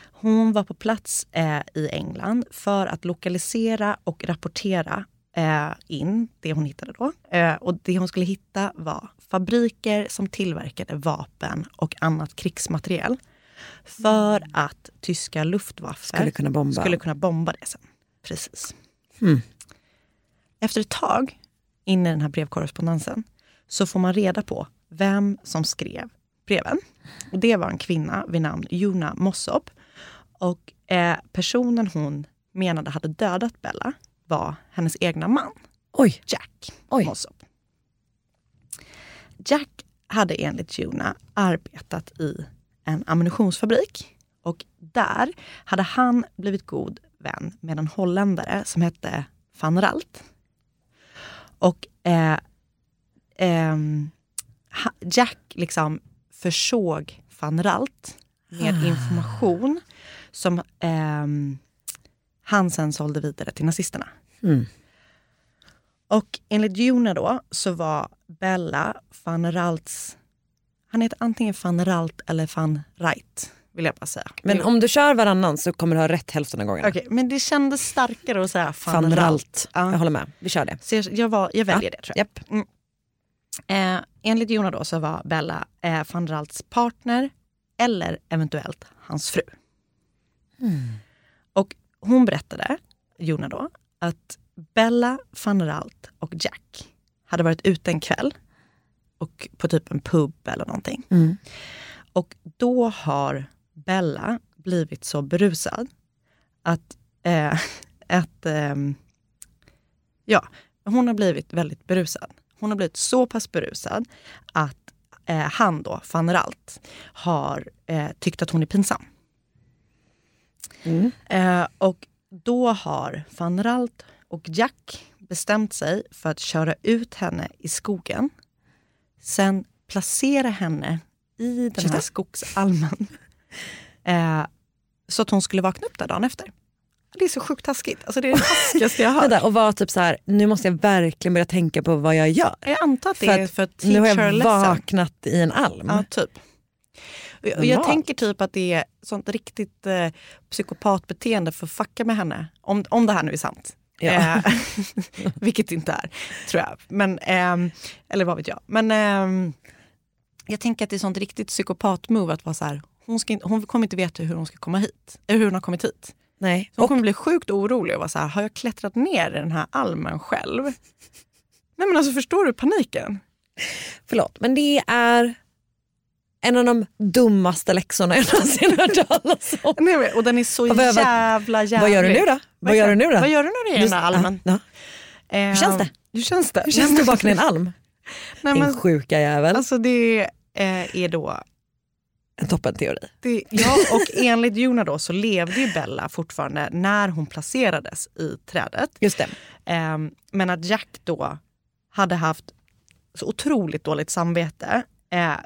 Hon var på plats eh, i England för att lokalisera och rapportera eh, in det hon hittade då. Eh, och det hon skulle hitta var fabriker som tillverkade vapen och annat krigsmateriel för att tyska Luftwaffe Skulle kunna bomba. Hmm. skulle kunna bomba det sen. Precis. Efter ett tag in i den här brevkorrespondensen så får man reda på vem som skrev breven. Och det var en kvinna vid namn Juna Mossop. Och eh, personen hon menade hade dödat Bella var hennes egna man, Oj, Jack Oj. Mossop. Jack hade enligt Juna arbetat i en ammunitionsfabrik och där hade han blivit god vän med en holländare som hette van Ralt. Och eh, ehm, ha- Jack liksom försåg van Ralt med information som ehm, han sen sålde vidare till nazisterna. Och enligt Juna då så var Bella van Ralts, han heter antingen van Ralt eller van Reit vill jag bara säga. men om du kör varannan så kommer du ha rätt hälften av gångerna. Okej, men det kändes starkare att säga van, Fan Ralt. ralt. Ja. Jag håller med, vi kör det. Så jag, jag, var, jag väljer det tror jag. Japp. Eh, enligt Jona då så var Bella eh, van Ralts partner eller eventuellt hans fru. Och hon berättade, Jona då, att Bella van Ralt och Jack hade varit ute en kväll och på typ en pub eller någonting. Och då har Bella blivit så berusad att, eh, att ehm, Ja, hon har blivit väldigt berusad. Hon har blivit så pass berusad att eh, han då, van Ralt, har eh, tyckt att hon är pinsam. Eh, och då har van Ralt och Jack bestämt sig för att köra ut henne i skogen. Sen placera henne i den här skogsalmen. Eh, så att hon skulle vakna upp där dagen efter. Det är så sjukt taskigt. Alltså, det är det taskigaste jag har hört. Vänta, och vara typ så här, nu måste jag verkligen börja tänka på vad jag gör. Jag antar att det För är att för att Nu har teacher är jag ledsen. vaknat i en alm. Ja, typ. Och jag- Och jag Normalt. tänker typ att det är sånt riktigt eh, psykopatbeteende för att fucka med henne. Om, om det här nu är sant. Ja. Eh, vilket det inte är, tror jag. Men, ehm, eller vad vet jag. Men ehm, jag tänker att det är sånt riktigt psykopatmove att vara så här, hon, ska inte, hon kommer inte veta hur hon ska komma hit. Eller hur hon har kommit hit. Nej. Så hon kommer bli sjukt orolig och vara så här, har jag klättrat ner i den här almen själv? Nej men alltså förstår du paniken? Förlåt, men det är en av de dummaste läxorna jag någonsin hört talas om. Nej, men- och den är så Vad- vad- jävla jävlig. Vad gör du nu då? Vad gör du nu då? Vad gör du när du är i den här almen? Ja, ja. Hur känns det? Hur känns det? Hur känns det att vakna i en alm? Nej, Din men, sjuka jävel. alltså det eh, är då... En toppenteori. Det, ja, och enligt Jona då så levde ju Bella fortfarande när hon placerades i trädet. Just det. Ehm, men att Jack då hade haft så otroligt dåligt samvete eh,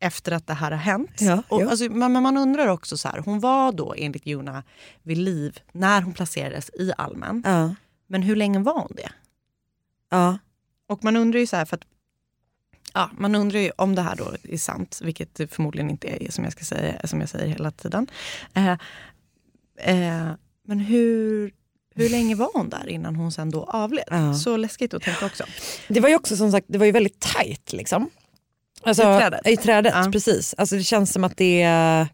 efter att det här har hänt. Ja, och, ja. alltså, men, men man undrar också så här, hon var då enligt Jona vid liv när hon placerades i almen. Ja. Men hur länge var hon det? Ja. Och man undrar ju så här, för att Ja, man undrar ju om det här då är sant, vilket det förmodligen inte är som jag, ska säga, som jag säger hela tiden. Eh, eh, men hur, hur länge var hon där innan hon sen då avled? Ja. Så läskigt att tänka också. Det var ju också som sagt det var ju väldigt tajt. Liksom. Alltså, I trädet? I trädet, Ja. precis. Alltså, det känns som att det är,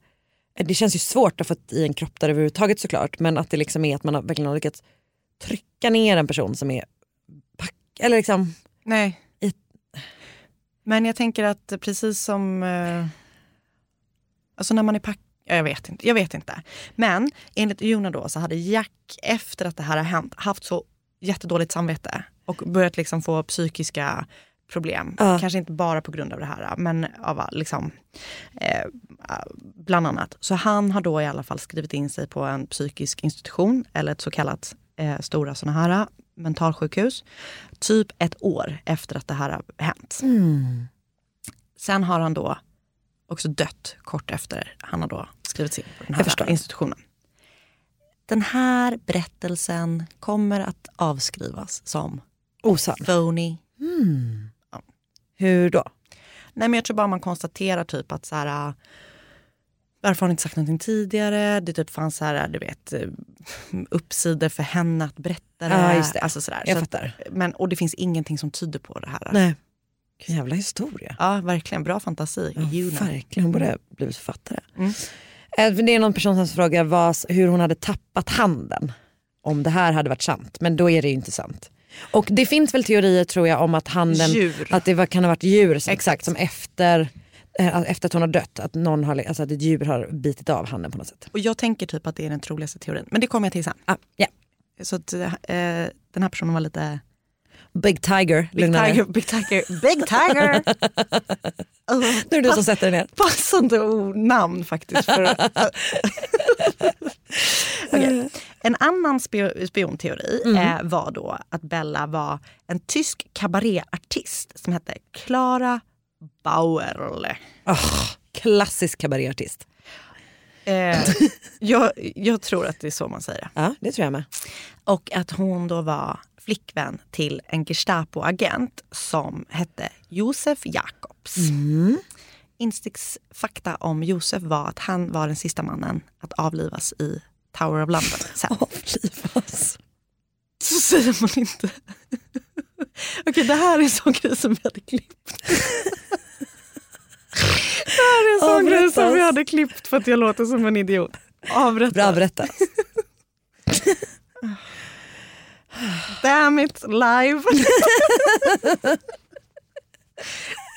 det känns ju svårt att få i en kropp där överhuvudtaget såklart men att det liksom är att man har, verkligen har lyckats trycka ner en person som är pack, eller liksom, Nej. I- Men jag tänker att precis som... Eh, alltså när man är pack... ja, Jag vet inte. Jag vet inte. Men enligt Jona då så hade Jack efter att det här har hänt haft så jättedåligt samvete och börjat liksom få psykiska problem. Ja. Kanske inte bara på grund av det här men av liksom, eh, bland annat. Så han har då i alla fall skrivit in sig på en psykisk institution eller ett så kallat eh, stora sådana här mentalsjukhus typ ett år efter att det här har hänt. Mm. Sen har han då också dött kort efter han har då skrivits in på den Jag här förstår. institutionen. Den här berättelsen kommer att avskrivas som osann. phony. Hmm. Hur då? Nej, men jag tror bara man konstaterar typ att så här, äh, varför har ni inte sagt någonting tidigare? Det typ fanns så här, du vet, äh, uppsidor för henne att berätta det. Ja, just det. Alltså så där. Jag så fattar. att, men, och det finns ingenting som tyder på det här. Nej. Vilken jävla historia. Ja, verkligen. Bra fantasi. Ja, Juna. verkligen, hon borde ha blivit författare. Mm. Eh, för Det är någon person som frågar vad, hur hon hade tappat handen om det här hade varit sant. Men då är det ju inte sant. Och det finns väl teorier tror jag om att handen, Djur. att det var, kan ha varit djur som, Exakt. exakt. som efter, eh, efter att hon har dött, att, någon har, alltså att ett djur har bitit av handen på något sätt. Och jag tänker typ att det är den troligaste teorin. Men det kommer jag till sen. Ah, ja. Så att, eh, den här personen var lite... Big Tiger, Big lugna dig. tiger, big tiger, big tiger! Alltså, Nu är det du som sätter dig ner. Passande ord- namn faktiskt. För... Okej. En annan spio- spionteori eh, var då att Bella var en tysk kabaréartist som hette Clara Bauerle. Oh, klassisk kabaréartist. Eh, jag, jag tror att det är så man säger det. Ja, det tror jag med. Och att hon då var flickvän till en Gestapo-agent som hette Josef Jakobs. Mm. Insticksfakta om Josef var att han var den sista mannen att avlivas i Tower of London. Sen. Avlivas. Så säger man inte. Okej, det här är en sån grej som vi hade klippt. det här är en sån grej Avrättas. som vi hade klippt för att jag låter som en idiot. Bra Avrättad. berätta. Damn it, live!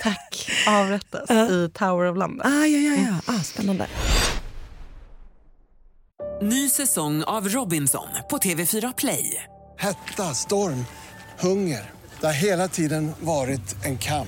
Tack. Avrättas i Tower of London. Mm. Ah, ja, ja, ja. Ah, spännande. Ny säsong av Robinson på TV4 Play. Hetta, storm, hunger. Det har hela tiden varit en kamp.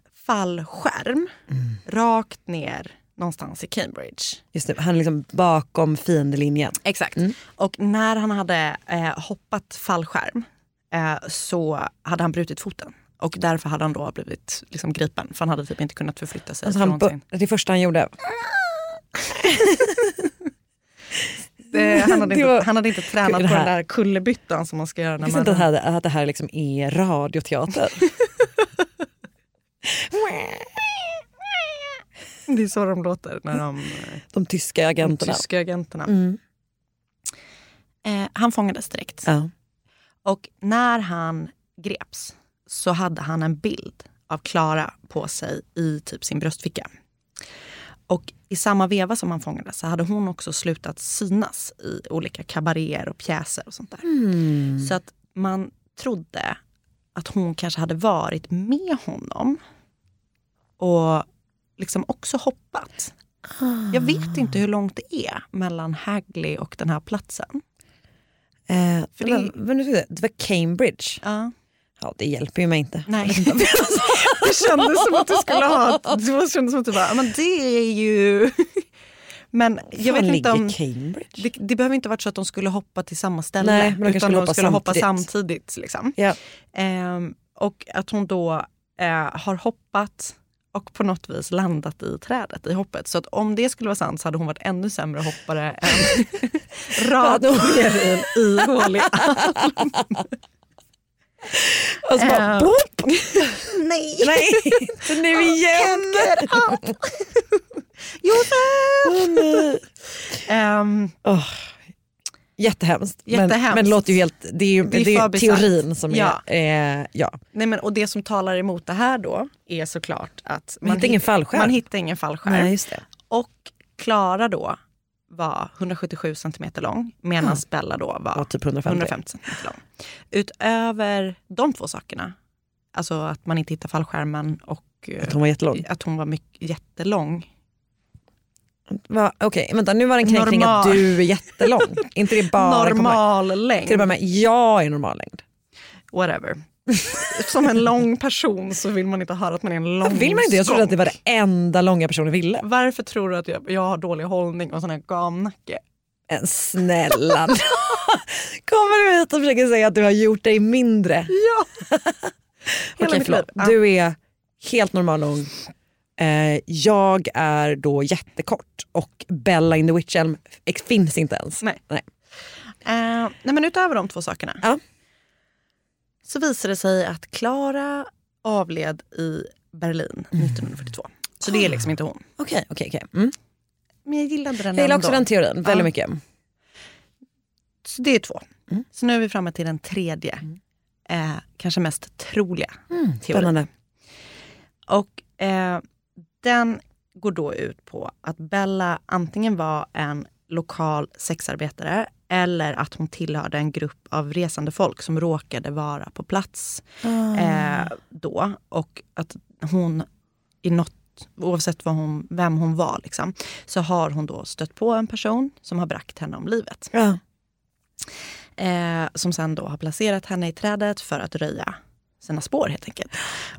fallskärm rakt ner någonstans i Cambridge. Just det, han är liksom bakom fiendelinjen. Exakt. Och när han hade eh, hoppat fallskärm eh, så hade han brutit foten. Och därför hade han då blivit liksom, gripen, för han hade typ inte kunnat förflytta sig. Alltså han från bör- sin... det första han gjorde. Eh, han, hade Det inte, var- han hade inte tränat Det på den här- där kullerbyttan som man ska göra Jag när visste man... inte att det här, att det här liksom är radioteater. Det är så de låter när de... eh, De tyska agenterna. De tyska agenterna. Mm. Eh, han fångades direkt. Ja. Och när han greps så hade han en bild av Klara på sig i typ sin bröstficka. Och i samma veva som han fångades så hade hon också slutat synas i olika kabaréer och pjäser och sånt där. Mm. Så att man trodde att hon kanske hade varit med honom och liksom också hoppat. Jag vet inte hur långt det är mellan Hagley och den här platsen. Eh, För det, det- var, men nu ska vi se, det var Cambridge. Ja. det hjälper ju mig inte. Nej. det kändes som att du skulle ha... Det kändes som att du bara, "Ja, men det är ju... Men jag Fan, vet ligger inte om... Cambridge? Det, det behöver inte varit så att de skulle hoppa till samma ställe. Nej, men de kanske utan skulle de hoppa skulle hoppa samtidigt. samtidigt. liksom. Ja. Ehm, och att hon då eh, har hoppat och på något vis landat i trädet i hoppet. Så att om det skulle vara sant så hade hon varit ännu sämre hoppare än radiogerin i hål i armen. Och så Alltså, bara, Eh. Ehm. boop! Nej! Nej, inte nu igen! ah. Josef! Ehm, Åh, jättehemskt. Men, Jättehemskt. men det låter ju helt, det är ju Det är det är för ju bisarrt. teorin som Ja. är... Eh, ja. Nej, men, och det som talar emot det här då är såklart att Man hittar ingen fallskärm. man hittar ingen fallskärm. Nej, just det. Och Klara då var 177 centimeter lång medan Mm. Bella då var Ja, typ 150. 150 centimeter lång. Utöver de två sakerna, alltså att man inte hittar fallskärmen och eh, Att hon var jättelång. att hon var mycket, jättelång. Va, Okej, vänta nu var det en kränkning Normal. att du är jättelång. inte det bara normal komma- Till att börja längd, med, jag är normal längd. whatever. Som en lång person så vill man inte höra att man är en lång Vill man inte? Jag trodde skånk. att det var det enda långa personen ville. Varför tror du att jag, jag har dålig hållning och sån här gamnacke? Men snälla, kommer du hit och försöker säga att du har gjort dig mindre? Ja. Okej mitt förlåt, liv. Ja. du är helt normal lång. Eh, jag är då jättekort och Bella in the Witch Elm ex- finns inte ens. Nej. Eh, nej men utöver de två sakerna så visade det sig att Klara avled i Berlin 1942. Så det är liksom inte hon. Okej, okej, okej. Mm. Men jag gillade den Jag gillar ändå. också den teorin väldigt Ja. mycket. Så det är två. Mm. Så nu är vi framme till den tredje, eh, kanske mest troliga Mm, teorin. spännande. Och eh, den går då ut på att Bella antingen var en lokal sexarbetare eller att hon tillhörde en grupp av resande folk som råkade vara på plats Ah. eh, då. Och att hon i något, oavsett vad hon, vem hon var, liksom, så har hon då stött på en person som har bragt henne om livet. Eh, som sen då har placerat henne i trädet för att röja sina spår helt enkelt.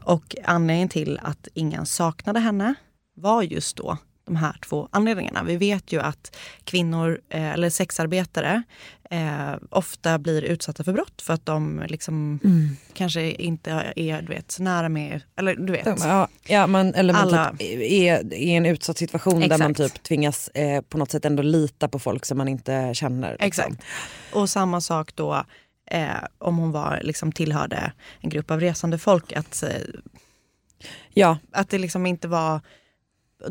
Och anledningen till att ingen saknade henne var just då de här två anledningarna. Vi vet ju att kvinnor, eh, eller sexarbetare, eh, ofta blir utsatta för brott för att de liksom Mm. kanske inte är du vet, så nära med, eller du vet. Ja, ja, man, eller man Alla- typ är i en utsatt situation där man Exakt. typ tvingas eh, på något sätt ändå lita på folk som man inte känner. liksom. Exakt. Och samma sak då eh, om hon var, liksom, tillhörde en grupp av resande folk, att, eh, Ja, att det liksom inte var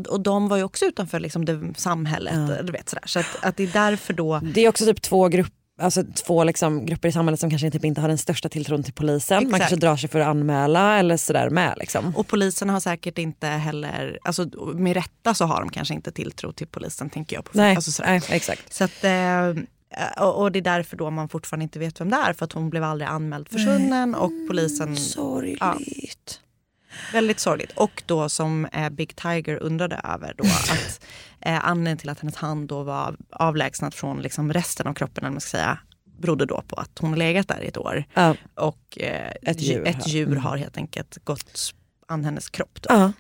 och de var ju också utanför liksom det samhället. Du vet, sådär. Så att, att det är därför då... Det är också typ två grupper alltså, två liksom, grupper i samhället som kanske typ inte har den största tilltron till polisen. Man Exakt. kanske drar sig för att anmäla eller sådär med. Liksom. Och polisen har säkert inte heller, alltså med rätta så har de kanske inte tilltro till polisen tänker jag. På, Nej, alltså sådär. nej, exakt. Så att, eh, och, och det är därför då man fortfarande inte vet vem det är för att hon blev aldrig anmäld försvunnen och polisen... Sorgligt. väldigt sorgligt. Och då som eh, Big Tiger undrade över då att eh, anledningen till att hennes hand då var avlägsnad från liksom resten av kroppen, eller vad man ska säga, berodde då på att hon har legat där i ett år. Ja. Och eh, ett djur, ett djur har helt enkelt gått an hennes kropp. Då. mm. Ja.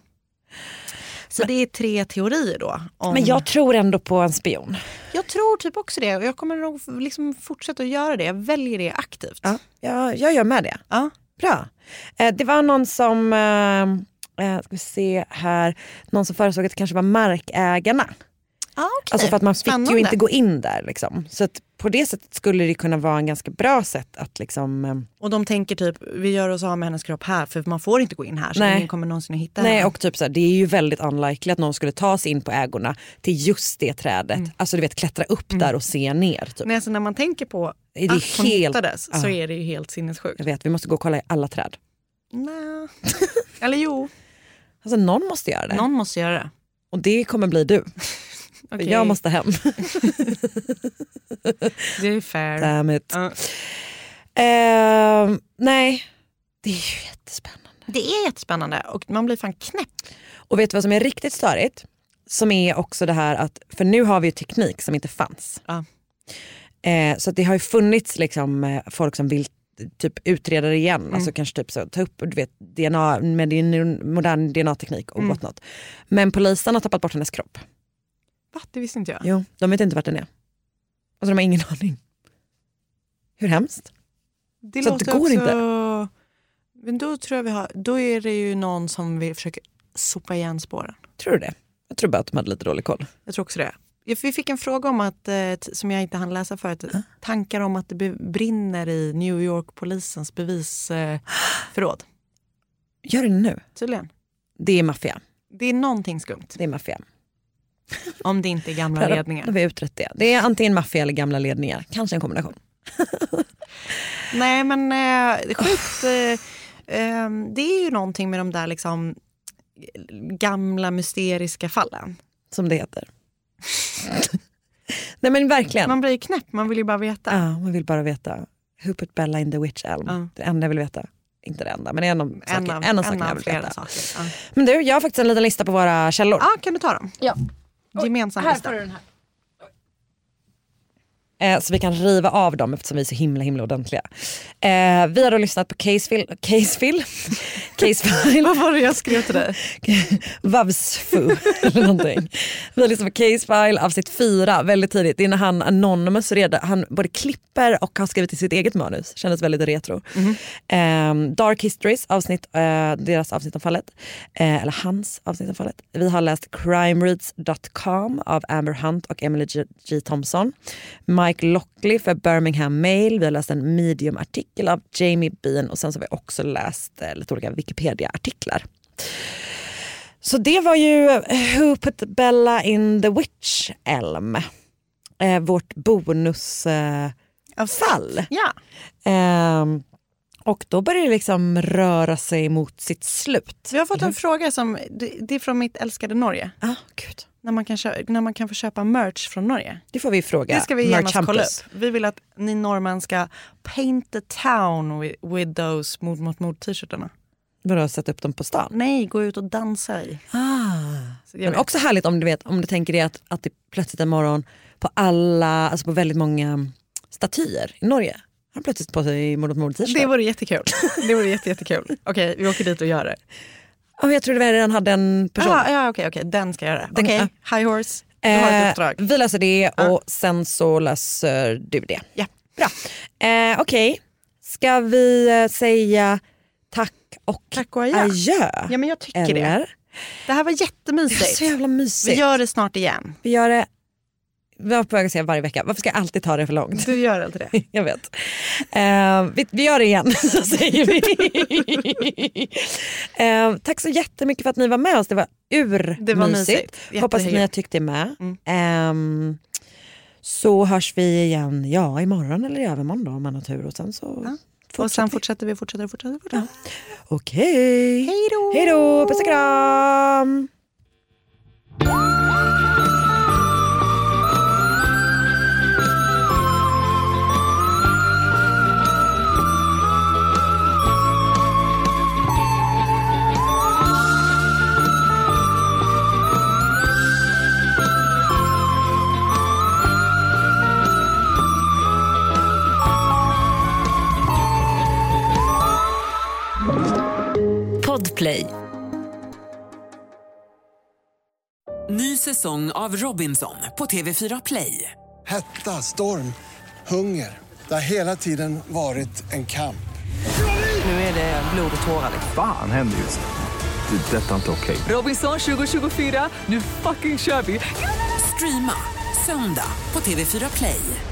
Så det är tre teorier då. Om... Men jag tror ändå på en spion. Jag tror typ också det och jag kommer nog liksom fortsätta att göra det. Jag väljer det aktivt. Ja, jag, jag gör med det. Bra. Eh, det var någon som, eh, eh, ska vi se här, någon som föreslog att det kanske var markägarna. Ah, okej. Alltså för att man fick ju Spännande. inte gå in där. Liksom. Så att på det sättet skulle det kunna vara en ganska bra sätt att liksom... ehm, Och de tänker typ, vi gör oss av med hennes kropp här för man får inte gå in här så Nej. ingen kommer någonsin att hitta Nej henne. och typ så här, det är ju väldigt unlikely att någon skulle ta sig in på ägorna till just det trädet. Mm. Alltså du vet klättra upp där och se ner. Typ. Nej, alltså när man tänker på Det är att Mm. alltså, hon helt- hittades så Ja. är det ju helt sinnessjukt. Jag vet, vi måste gå och kolla i alla träd. Nej. Eller jo, Alltså någon måste göra det. någon måste göra det. Och det kommer bli du. För Okej. Jag måste hem. Det är fair. Damn it. Ehm, nej, det är ju jättespännande. Det är jättespännande och man blir fan knäpp. Och vet du vad som är riktigt störigt? Som är också det här att, för nu har vi ju teknik som inte fanns. Eh, så att det har ju funnits liksom, eh, folk som vill typ utreda det igen, alltså kanske typ så, ta upp du vet, DNA, med din modern DNA-teknik och Mm. whatnot. Men polisen har tappat bort hennes kropp. Va? Det visste inte jag. Jo, de vet inte vart den är. Alltså de har ingen aning. Hur hemskt? Det Så låter det går också... inte. Men då tror jag vi har, då är det ju någon som vill försöka sopa igen spåren. Tror du det? Jag tror bara att de hade lite dålig koll. Jag tror också det. Ja, för Vi fick en fråga om att, eh, t- som jag inte hann läsa förut, tankar om att det be- brinner i New York-polisens bevisförråd. Gör det nu. eh, Tydligen. Det är maffia. Det är någonting skumt. Det är maffia. Om det inte är gamla Bra, då- ledningar. Då har vi utrett det. Det är antingen maffia eller gamla ledningar. Kanske en kombination. Nej men eh, det är sjukt. Eh, ehm, det är ju någonting med de där liksom gamla mysteriska fallen. Som det heter. Nej men verkligen. Man blir ju knäpp, man vill ju bara veta. Ja, man vill bara veta. Who put Bella in the witch elm? Ja. Det enda jag vill veta. Inte det enda, men det är en av En sakerna, av- en av en sakerna av jag vill flera veta. saker, ja. Men du, jag har faktiskt en liten lista på våra källor. Ja, kan du ta dem? Ja. Gemensam Här lista. får du den här. Eh, så vi kan riva av dem eftersom vi är så himla himla ordentliga. Eh, vi har då lyssnat på Casefil, Casefil, Casefile. Vad var det jag skrev till dig? Vavsfu eller någonting. Vi har lyssnat på Casefile avsnitt fyra väldigt tidigt. Det är när han Anonymous redan, han både klipper och har skrivit i sitt eget manus. Kändes väldigt retro. Eh, Dark Histories avsnitt, eh, deras avsnitt om fallet. Eh, eller hans avsnitt om fallet. Vi har läst crimereads.com av Amber Hunt och Emily G. G. Thompson. Mike Lockley för Birmingham Mail. Vi har läst en medium-artikel av Jamie Bean och sen så har vi också läst eh, lite olika Wikipedia-artiklar. Så det var ju eh, Who put Bella in the witch elm? Eh, vårt bonusfall. Eh, fall. Ja. Ehm, och då börjar det liksom röra sig mot sitt slut. Vi har fått en fråga som, det, det är från mitt älskade Norge. Ah, Gud. När, man kan kö- när man kan få köpa merch från Norge. Det får vi fråga Det ska vi Mark genast kolla Hampus. upp. Vi vill att ni norrmän ska paint the town with, with those mord mot mord-t-shirtarna. Vadå, sätta upp dem på stan? Nej, gå ut och dansa i. Så jag Men vet. också härligt om du, vet, om du tänker dig att, att det plötsligt en morgon på alla, alltså på väldigt många statyer i Norge har de plötsligt på sig mord mot mord Det vore jättekul. Det vore jätte, jättekul. Okej, vi åker dit och gör det. Jag trodde vi redan hade en person. Ah, ja, okej, okej. Den ska jag göra. Den- Okej, high horse. Du har ett uppdrag. Eh, vi löser det och sen så löser du det. Ja. Bra. Eh, Okej, ska vi eh, säga tack och, Tack och adjö. Ja, men jag tycker det. Eller? Det här var jättemysigt. Det var så jävla mysigt. Vi gör det snart igen. Vi gör det, vi var på väg att säga varje vecka, varför ska jag alltid ta det för långt? Du gör alltid det. Jag vet. Eh, vi, vi gör det igen, så säger vi. eh, tack så jättemycket för att ni var med oss. Det var urmysigt. Det var mysigt. Hoppas att ni har Jättehyggligt. Ehm, tyckt det med. så hörs vi igen ja, imorgon eller i övermorgon då, om man har tur. Och sen så Och sen fortsätter vi, fortsätter och fortsätter. fortsätter. Okej. Hej då! Hej då! Puss och kram! Podplay. Ny säsong av Robinson på TV4 Play. Hetta, storm, hunger. Det har hela tiden varit en kamp. Nu är det blod och tårar. Fan händer just det. Det är detta inte okej. Robinson 2024, nu fucking kör vi! Streama söndag på TV4 Play.